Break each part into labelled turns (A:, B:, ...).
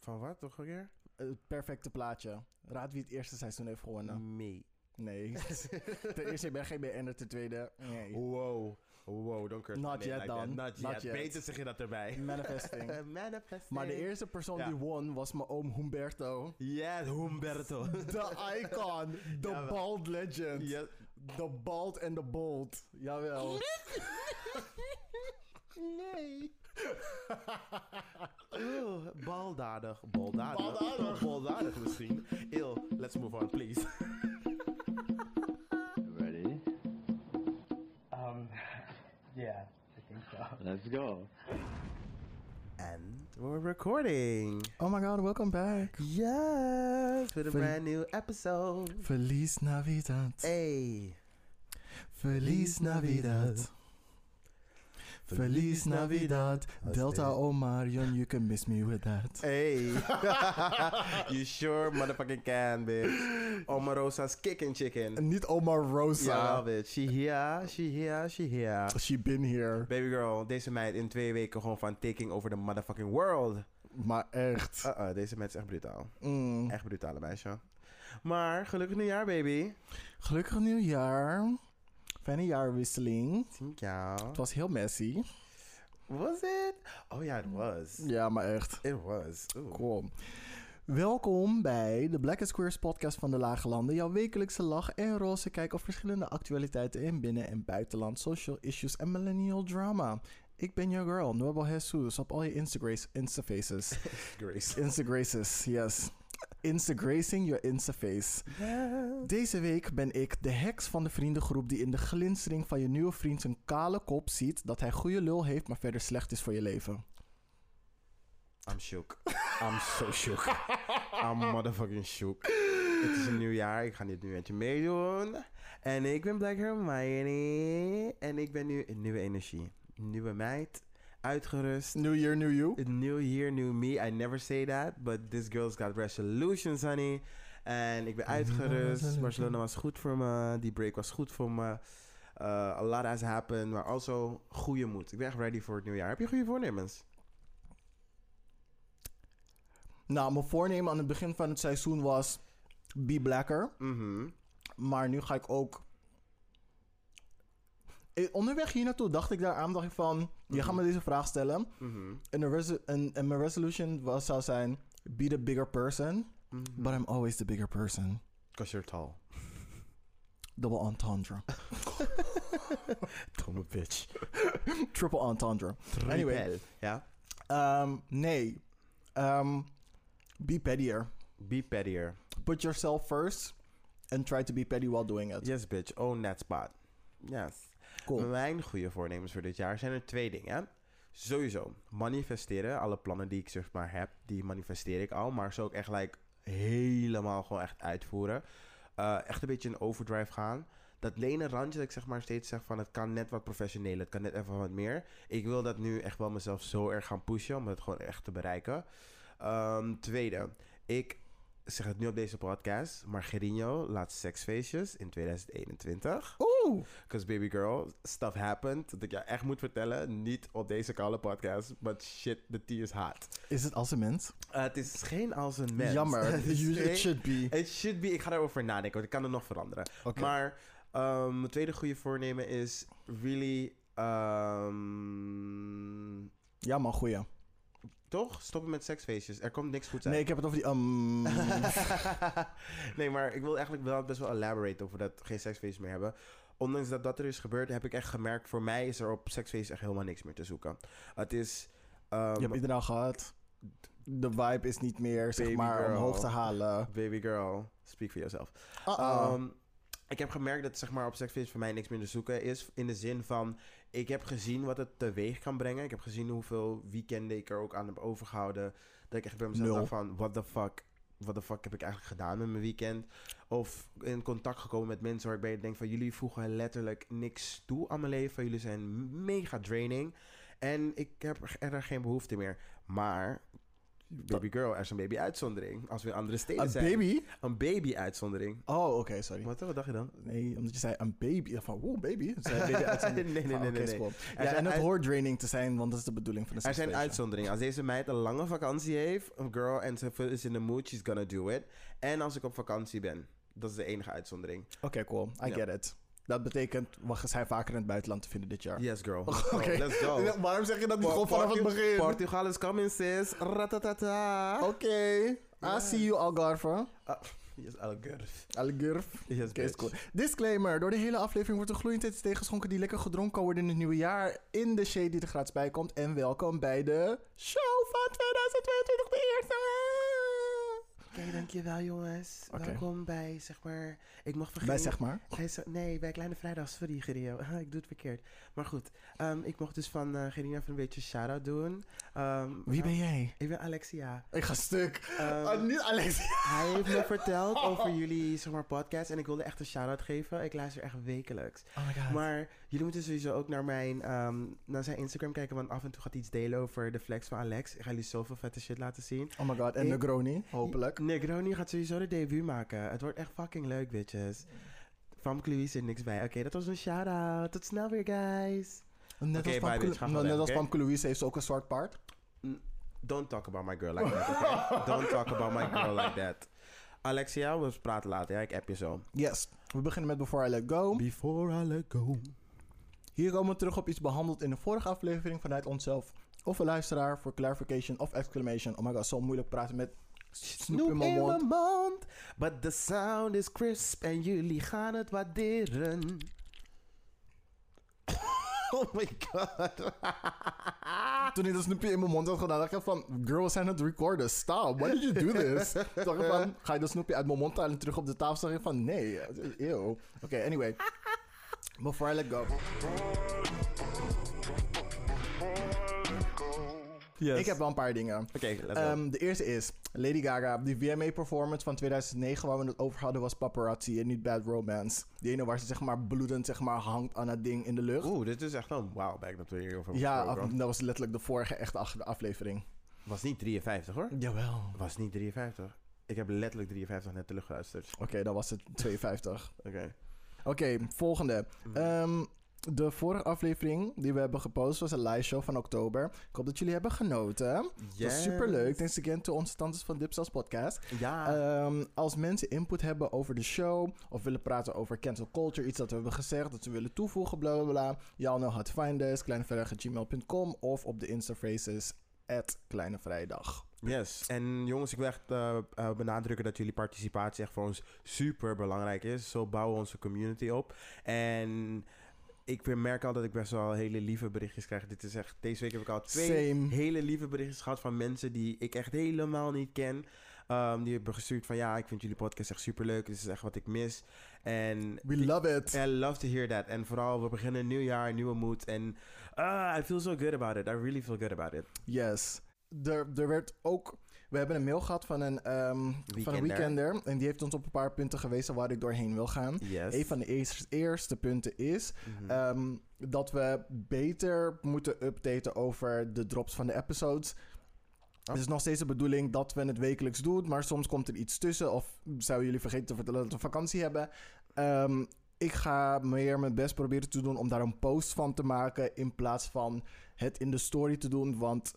A: Van wat, toch een keer?
B: Het perfecte plaatje. Raad wie het eerste seizoen heeft gewonnen.
A: Nee.
B: Nee. Ten eerste, ik ben geen BN'er. Ten tweede, nee.
A: Wow. Wow, don't curse
B: Not
A: me
B: yet
A: like that.
B: dan.
A: Not,
B: Not
A: yet.
B: yet.
A: Beter zeg je dat erbij.
B: Manifesting.
A: Manifesting.
B: Maar de eerste persoon
A: Ja.
B: die won was mijn oom Humberto.
A: Yes, Humberto.
B: The icon. The
A: Jawel.
B: bald legend.
A: yes.
B: The bald and the bold. Jawel.
A: Nee. Oeh, baldadig. Baldadig.
B: Baldadig.
A: Baldadig misschien. Ew, let's move on, please.
C: Ready?
D: Um, yeah, I think so.
C: Let's go.
A: And we're recording.
B: Oh my god, welcome back.
A: Yes, with a
B: Ver-
A: brand new episode.
B: Feliz Navidad.
A: Hey.
B: Feliz Navidad. Feliz Navidad. Delta Omar, Yon, you can miss me with that.
A: Hey. you sure motherfucking can, bitch. Omarosa's kicking chicken.
B: En niet Omar
A: Yeah,
B: Rosa.
A: bitch. She here, she here, she here.
B: She been here.
A: Baby girl, deze meid in twee weken gewoon van taking over the motherfucking world.
B: Maar echt.
A: Uh-uh, deze meid is echt brutaal.
B: Mm.
A: Echt brutale meisje. Maar gelukkig nieuwjaar, baby.
B: Gelukkig nieuwjaar. Fijne jaarwisseling.
A: Thank you.
B: Het was heel messy.
A: Was it? Oh ja, it was.
B: Ja, maar echt.
A: It was. Oeh.
B: Kom. Welkom bij de Black and Squares podcast van de Lage Landen. Jouw wekelijkse lach en roze kijk op verschillende actualiteiten in binnen- en buitenland, social issues en millennial drama. Ik ben your girl, Norbel Jesus, op al je Instagrace, Instafaces.
A: Grace.
B: Instagraces, yes. Instagracing your Instaface. Deze week ben ik de heks van de vriendengroep die in de glinstering van je nieuwe vriend zijn kale kop ziet dat hij goede lul heeft, maar verder slecht is voor je leven.
A: I'm shook. I'm so shook. I'm motherfucking shook. Het is een nieuw jaar. Ik ga dit nu met je meedoen. En ik ben Black Hermione. En ik ben nu een nieuwe energie. Nieuwe meid. Uitgerust.
B: New year, new you.
A: A New year, new me. I never say that, but this girl's got resolutions, honey. En ik ben uitgerust. Barcelona was goed voor me. Die break was goed voor me. Uh, a lot has happened, maar also goede moed. Ik ben echt ready voor het nieuwe jaar. Heb je goede voornemens?
B: Nou, mijn voornemen aan het begin van het seizoen was be blacker.
A: Mhm.
B: Maar nu ga ik ook. Eh, Onderweg hier naartoe dacht ik daar aan, dacht ik van, je gaat me deze vraag stellen.
A: Mhm.
B: En, de reso- en, en mijn resolution was, zou zijn, be the bigger person. But I'm always the bigger person.
A: Because you're tall.
B: Double entendre.
A: Domme bitch.
B: Triple entendre. Anyway,
A: Anyway. Ja?
B: ehm, nee. Ehm, be pettier.
A: Be pettier.
B: Put yourself first and try to be petty while doing it.
A: Yes, bitch. Own that spot. Yes.
B: Cool.
A: Mijn goede voornemens voor dit jaar zijn er twee dingen. Sowieso, manifesteren. Alle plannen die ik zeg maar heb, die manifesteer ik al. Maar zo ook echt like, helemaal gewoon echt uitvoeren. Eh, echt een beetje in overdrive gaan. Dat lenen randje dat ik zeg maar steeds zeg van... het kan net wat professioneler, het kan net even wat meer. Ik wil dat nu echt wel mezelf zo erg gaan pushen... om het gewoon echt te bereiken. Ehm, tweede, ik zeg het nu op deze podcast... Margerino laat seksfeestjes in 2021.
B: Oeh!
A: Because baby girl, stuff happened. Dat ik jou echt moet vertellen. Niet op deze koude podcast. But shit, the tea is hot.
B: Is het als een mens?
A: Eh, het is geen als een mens.
B: Jammer.
A: Het is
B: You-
A: geen-
B: It should be.
A: It should be. Ik ga daarover nadenken. Want ik kan het nog veranderen.
B: Oké.
A: Maar ehm, mijn tweede goede voornemen is really... ehm,
B: Ja, man, goeie.
A: toch? Stoppen met seksfeestjes. Er komt niks goeds uit.
B: Nee, ik heb het over die. ehm,
A: nee, maar ik wil eigenlijk wel best wel elaborate over dat geen seksfeest meer hebben. Ondanks dat dat er is gebeurd, heb ik echt gemerkt... voor mij is er op seksfeest echt helemaal niks meer te zoeken. Het is... ehm,
B: je hebt iedereen al gehad. De vibe is niet meer, zeg
A: Baby
B: maar,
A: girl.
B: omhoog te halen.
A: Baby girl, speak for yourself.
B: Uh-oh.
A: Ehm, ik heb gemerkt dat zeg maar, op seksfeest voor mij niks meer te zoeken is. In de zin van, ik heb gezien wat het teweeg kan brengen. Ik heb gezien hoeveel weekenden ik er ook aan heb overgehouden. Dat ik echt bij mezelf
B: Nul.
A: dacht van, what the fuck... Wat de fuck heb ik eigenlijk gedaan met mijn weekend? Of in contact gekomen met mensen waarbij ik denk van... jullie voegen letterlijk niks toe aan mijn leven. Jullie zijn mega draining. En ik heb er geen behoefte meer. Maar Baby girl, er is een baby uitzondering. Als we in andere steden
B: Een
A: zijn.
B: baby?
A: Een baby uitzondering.
B: Oh, oké, sorry.
A: Wat, wat dacht je dan?
B: Nee, omdat je zei een baby. Ik dacht Van, wow, baby. Zei baby uitzending.
A: Nee, nee,
B: Van,
A: nee,
B: oké,
A: nee,
B: is
A: nee.
B: goed.
A: Er
B: Ja,
A: zijn
B: en het
A: uit-
B: hoort draining te zijn, want dat is de bedoeling van de
A: Er zijn
B: seksfeestje.
A: uitzonderingen. Als deze meid een lange vakantie heeft, een girl, en ze is in the mood, she's gonna do it. En als ik op vakantie ben. Dat is de enige uitzondering.
B: Oké, cool. I
A: Ja.
B: get it. Dat betekent, we zijn vaker in het buitenland te vinden dit jaar.
A: Yes, girl.
B: Oké.
A: Oké. Oh, Let's go.
B: Ja, Waarom zeg je dat niet
A: Por-
B: gewoon vanaf het
A: Portu-
B: begin? Oké.
A: Portugal is coming, sis. Ratatata.
B: I see you, Algarve.
A: Yes, all good.
B: Algarve.
A: Ah. Yes,
B: Oké, is
A: bitch.
B: cool. Disclaimer. Door de hele aflevering wordt er gloeiend iets tegengeschonken die lekker gedronken kan worden in het nieuwe jaar. In de shade die er gratis bij komt. En welkom bij de show van 2022, de eerste.
A: Oké, dankjewel jongens.
B: Oké.
A: Welkom bij, zeg maar, ik mag vergeten...
B: Wij zeg maar.
A: Bij zo- nee, bij Kleine Vrijdag, sorry Gerino. ik doe het verkeerd. Maar goed, ehm, ik mocht dus van eh Gerino even een beetje shout-out doen. Ehm,
B: Wie ben jij?
A: Ik ben Alexia.
B: Ik ga stuk.
A: Ehm,
B: Ah, niet Alexia.
A: hij heeft me verteld over jullie zeg maar, podcast en ik wilde echt een shout-out geven. Ik luister echt wekelijks.
B: Oh my god.
A: Maar jullie moeten sowieso ook naar, mijn, ehm, naar zijn Instagram kijken, want af en toe gaat hij iets delen over de flex van Alex. Ik ga jullie zoveel vette shit laten zien.
B: oh my god. En
A: Ik-
B: Negroni, hopelijk.
A: Negroni gaat sowieso de debuut maken. Het wordt echt fucking leuk, bitches. Van Cluis zit niks bij. Oké, dat was een shout-out. Tot snel weer, guys.
B: Net
A: Oké,
B: als
A: bye,
B: Pam
A: bitch. Ga
B: Clu-
A: gewoon
B: net
A: weg,
B: als
A: oké?
B: Pamke Louise heeft ze ook een zwart paard.
A: Don't talk about my girl like that, okay? Don't talk about my girl like that. Alexia, we praten later. Ja, ik app je zo.
B: Yes. We beginnen met Before I Let Go.
A: Before I let go.
B: Hier komen we terug op iets behandeld in de vorige aflevering vanuit onszelf. Of een luisteraar voor clarification of exclamation. Oh my god, zo moeilijk praten met snoep in mijn mond.
A: mond. But the sound is crisp en jullie gaan het waarderen. oh my god.
B: Toen ik dat snoepje in mijn mond had gedaan, dacht ik van... Girl, we zijn aan het recorden. Stop. Why did you do this? Toen dacht ik van, ga je dat snoepje uit mijn mond halen en terug op de tafel? Zeg ik van, nee. Eeuw. Oké, anyway. Before I let go. Ik heb wel een paar dingen.
A: Oké, let's go.
B: Ehm, de eerste is Lady Gaga. Die VMA-performance van 2009 waar we het over hadden was Paparazzi en niet Bad Romance. Die ene waar ze zeg maar bloedend zeg maar, hangt aan dat ding in de lucht.
A: Oeh, dit is echt een wow back dat we hierover
B: ja,
A: gesproken
B: af-
A: hadden.
B: dat was letterlijk de vorige echte af- aflevering.
A: Was niet 53 hoor.
B: Jawel.
A: Was niet 53. Ik heb letterlijk 53 net teruggeluisterd.
B: Oké, dan was het 52.
A: Oké.
B: Oké, volgende. Ehm, de vorige aflevering die we hebben gepost was een live show van oktober. Ik hoop dat jullie hebben genoten. Het was
A: Yes.
B: superleuk. Thanks again to onze tantes van Dipsels Podcast.
A: Ja.
B: Ehm, als mensen input hebben over de show of willen praten over cancel culture, iets dat we hebben gezegd, dat ze willen toevoegen, bla bla bla. Y'all know how to find us, kleinevrijdag.gmail.com of op de Instafaces at Kleine Vrijdag.
A: Yes. En jongens, ik wil echt eh, eh, benadrukken dat jullie participatie echt voor ons super belangrijk is. Zo bouwen we onze community op. En ik weer merk al dat ik best wel hele lieve berichtjes krijg. Dit is echt, deze week heb ik al twee
B: Same.
A: hele lieve berichtjes gehad van mensen die ik echt helemaal niet ken. Ehm, die hebben gestuurd van ja, ik vind jullie podcast echt super leuk. Dit is echt wat ik mis. En
B: We love it.
A: I love to hear that. En vooral, we beginnen een nieuw jaar, een nieuwe moed. En ah, I feel so good about it. I really feel good about it.
B: Yes. Er, er werd ook. We hebben een mail gehad van een, ehm, Van
A: Weekender.
B: een weekender. En die heeft ons op een paar punten gewezen waar ik doorheen wil gaan.
A: Yes.
B: Een van de eerste, eerste punten is
A: Mhm.
B: ehm, dat we beter moeten updaten over de drops van de episodes. Het is nog steeds de bedoeling dat we het wekelijks doen, maar soms komt er iets tussen. Of zouden jullie vergeten te vertellen dat we vakantie hebben? Ehm, ik ga meer mijn best proberen te doen om daar een post van te maken in plaats van het in de story te doen. Want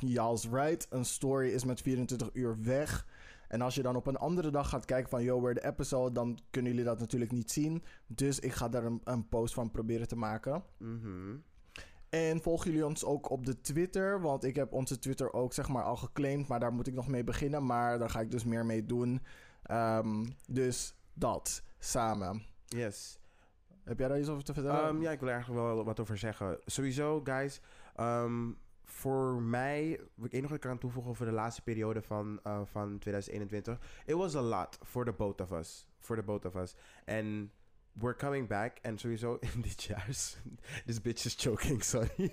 B: y'all's right, een story is met 24 uur weg. En als je dan op een andere dag gaat kijken van yo, where the episode, dan kunnen jullie dat natuurlijk niet zien. Dus ik ga daar een, een post van proberen te maken.
A: Mhm.
B: En volgen jullie ons ook op de Twitter? Want ik heb onze Twitter ook zeg maar al geclaimd, maar daar moet ik nog mee beginnen. Maar daar ga ik dus meer mee doen. Ehm, dus dat samen.
A: Yes.
B: Heb jij daar iets over te vertellen?
A: Ehm, ja, ik wil er eigenlijk wel wat over zeggen. Sowieso, guys. ehm, voor mij, wat ik één nog wat ik kan toevoegen over de laatste periode van, eh, van 2021. It was a lot for the both of us. For the both of us. And we're coming back. En sowieso in dit jaar. is- This bitch is choking, sorry.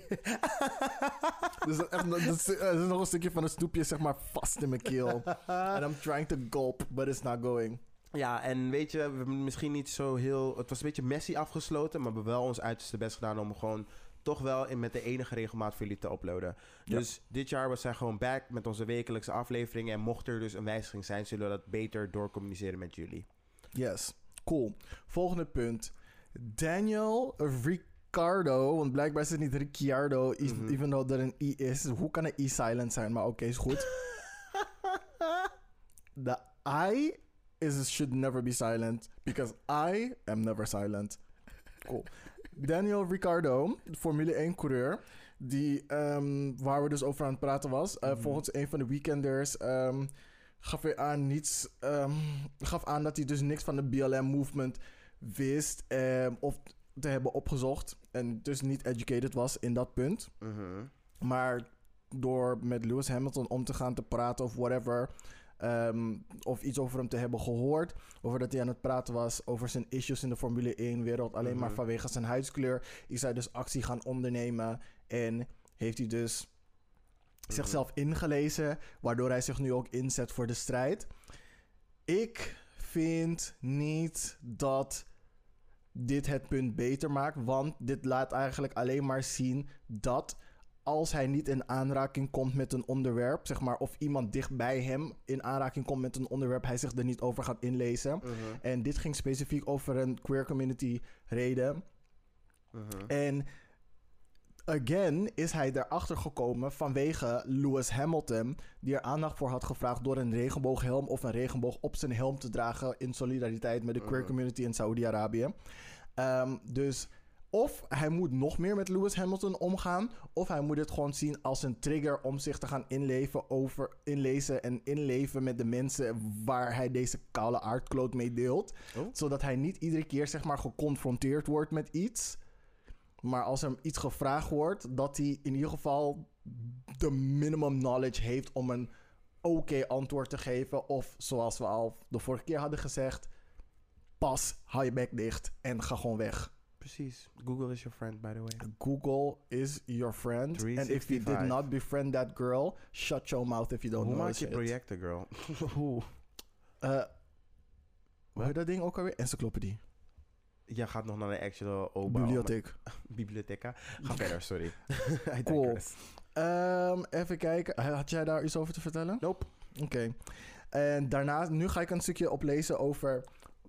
B: Dus dat, echt, dat, is, eh, er is nog een stukje van een snoepje zeg maar vast in mijn keel. And I'm trying to gulp, but it's not going.
A: Ja, en weet je, we hebben misschien niet zo heel. Het was een beetje messy afgesloten, maar we hebben wel ons uiterste best gedaan om gewoon toch wel in, met de enige regelmaat voor jullie te uploaden.
B: Ja.
A: Dus dit jaar was zij gewoon back met onze wekelijkse afleveringen. En mocht er dus een wijziging zijn, zullen we dat beter doorcommuniceren met jullie.
B: Yes, cool. Volgende punt. Daniel Ricardo, want blijkbaar is het niet Ricciardo, is-
A: Mhm.
B: even though er een I is. Hoe kan een I silent zijn? Maar oké, is goed. De I is, should never be silent, because I am never silent. Cool. Daniel Ricciardo, Formule 1 coureur, die, ehm, waar we dus over aan het praten was, eh, volgens een van de weekenders ehm, gaf hij aan niets, ehm, gaf aan dat hij dus niks van de BLM-movement wist ehm, of te hebben opgezocht en dus niet educated was in dat punt.
A: Mhm.
B: Maar door met Lewis Hamilton om te gaan te praten of whatever. ehm, of iets over hem te hebben gehoord. Over dat hij aan het praten was over zijn issues in de Formule 1-wereld. Alleen maar
A: Mhm.
B: vanwege zijn huidskleur. Is hij dus actie gaan ondernemen. En heeft hij dus zichzelf ingelezen. Waardoor hij zich nu ook inzet voor de strijd. Ik vind niet dat dit het punt beter maakt. Want dit laat eigenlijk alleen maar zien dat als hij niet in aanraking komt met een onderwerp, zeg maar, of iemand dicht bij hem in aanraking komt met een onderwerp, hij zich er niet over gaat inlezen.
A: Mhm.
B: En dit ging specifiek over een queer community reden.
A: Mhm.
B: En again is hij daarachter gekomen vanwege Lewis Hamilton, die er aandacht voor had gevraagd door een regenbooghelm of een regenboog op zijn helm te dragen in solidariteit met de queer
A: Mhm.
B: community in Saudi-Arabië. Ehm, dus of hij moet nog meer met Lewis Hamilton omgaan, of hij moet het gewoon zien als een trigger om zich te gaan inleven over, inlezen en inleven met de mensen waar hij deze koude aardkloot mee deelt.
A: Oh.
B: Zodat hij niet iedere keer zeg maar geconfronteerd wordt met iets. Maar als hem iets gevraagd wordt, dat hij in ieder geval de minimum knowledge heeft om een oké antwoord te geven. Of zoals we al de vorige keer hadden gezegd, pas, hou je bek dicht en ga gewoon weg.
A: Precies. Google is your friend, by the way.
B: Google is your friend. And if you did
A: 365.
B: not befriend that girl, shut your mouth if you don't
A: Hoe
B: know
A: maak
B: it
A: je
B: Oh, shit.
A: projecten, girl?
B: Hoe? Eh, hoe heet dat ding ook alweer? Encyclopedie.
A: Jij gaat nog naar de actual OBA.
B: Bibliotheek.
A: Bibliotheca. Ga verder, sorry. I
B: Cool.
A: digress.
B: Ehm, even kijken. Had jij daar iets over te vertellen?
A: Nope.
B: Oké. En daarna, nu ga ik een stukje oplezen over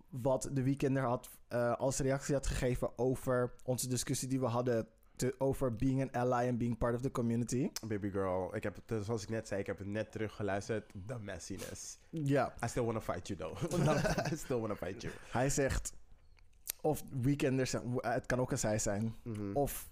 B: wat de weekender had eh, als reactie had gegeven over onze discussie die we hadden te- over being an ally and being part of the community.
A: Baby girl, ik heb het, eh, zoals ik net zei, ik heb het net teruggeluisterd. The messiness.
B: Ja.
A: I still wanna fight you though. I still wanna fight you.
B: Hij zegt, of weekenders, eh, het kan ook een zij zijn.
A: Mhm.
B: of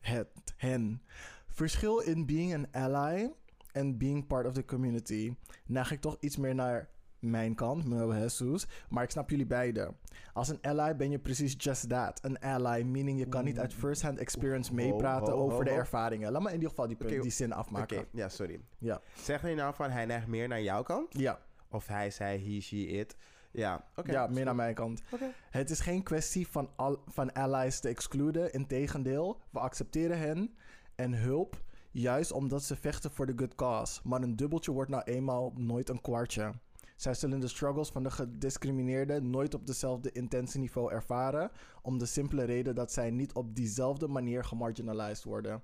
B: het, hen. Verschil in being an ally en being part of the community. Neig ik toch iets meer naar mijn kant, Mel Jesus, maar ik snap jullie beiden. Als een ally ben je precies just that, een ally, meaning je kan niet uit first-hand experience
A: Mm. Ho,
B: meepraten
A: ho, ho,
B: over de
A: ho.
B: ervaringen. Laat me in ieder geval die, punt,
A: Oké.
B: die zin
A: Oké,
B: afmaken.
A: ja, sorry.
B: Ja.
A: Zeg hij nou van hij neigt meer naar jouw kant?
B: Ja,
A: Of hij zei he, she, it? Ja, oké.
B: ja, meer naar mijn kant.
A: Oké.
B: Het is geen kwestie van, al, van allies te excluden. Integendeel, we accepteren hen en hulp. Juist omdat ze vechten voor de good cause. Maar een dubbeltje wordt nou eenmaal nooit een kwartje. Zij zullen de struggles van de gediscrimineerden nooit op dezelfde intense niveau ervaren. Om de simpele reden dat zij niet op diezelfde manier gemarginalized worden.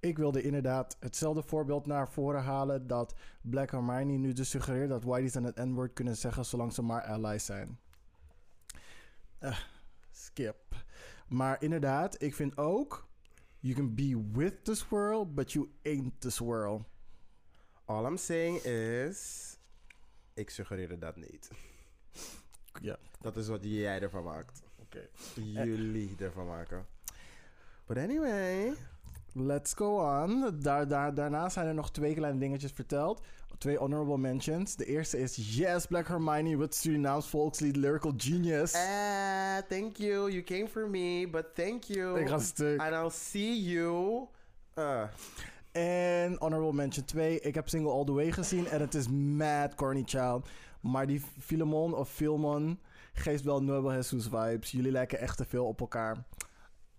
B: Ik wilde inderdaad hetzelfde voorbeeld naar voren halen dat Black Hermione nu dus suggereert dat whiteys en het N-word kunnen zeggen zolang ze maar allies zijn. Eh, skip. Maar inderdaad, ik vind ook, you can be with the swirl, but you ain't the swirl.
A: All I'm saying is... Ik suggereerde dat niet.
B: Ja.
A: Dat is wat jij ervan maakt.
B: Oké.
A: Jullie ervan maken. But anyway...
B: Let's go on. Daar, daar, daarna zijn er nog twee kleine dingetjes verteld. Twee honorable mentions. De eerste is, yes, Black Hermione with Surinaams volkslied Lyrical Genius.
A: Eh, thank you. You came for me, but thank you.
B: Ik ga stuk.
A: And I'll see you. Eh,
B: En Honorable Mention 2. Ik heb Single All The Way gezien en het is mad corny child. Maar die Filemon of Filmon geeft wel Nuevo Jesus vibes. Jullie lijken echt te veel op elkaar.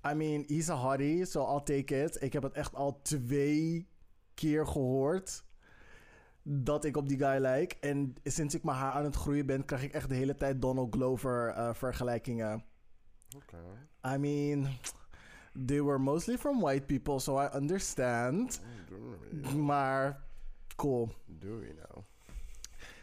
B: I mean, he's a hottie, so I'll take it. Ik heb het echt al twee keer gehoord dat ik op die guy lijk. En sinds ik mijn haar aan het groeien ben, krijg ik echt de hele tijd Donald Glover eh, vergelijkingen.
A: Oké.
B: I mean, They were mostly from white people, so I understand. Maar cool.
A: Do you know?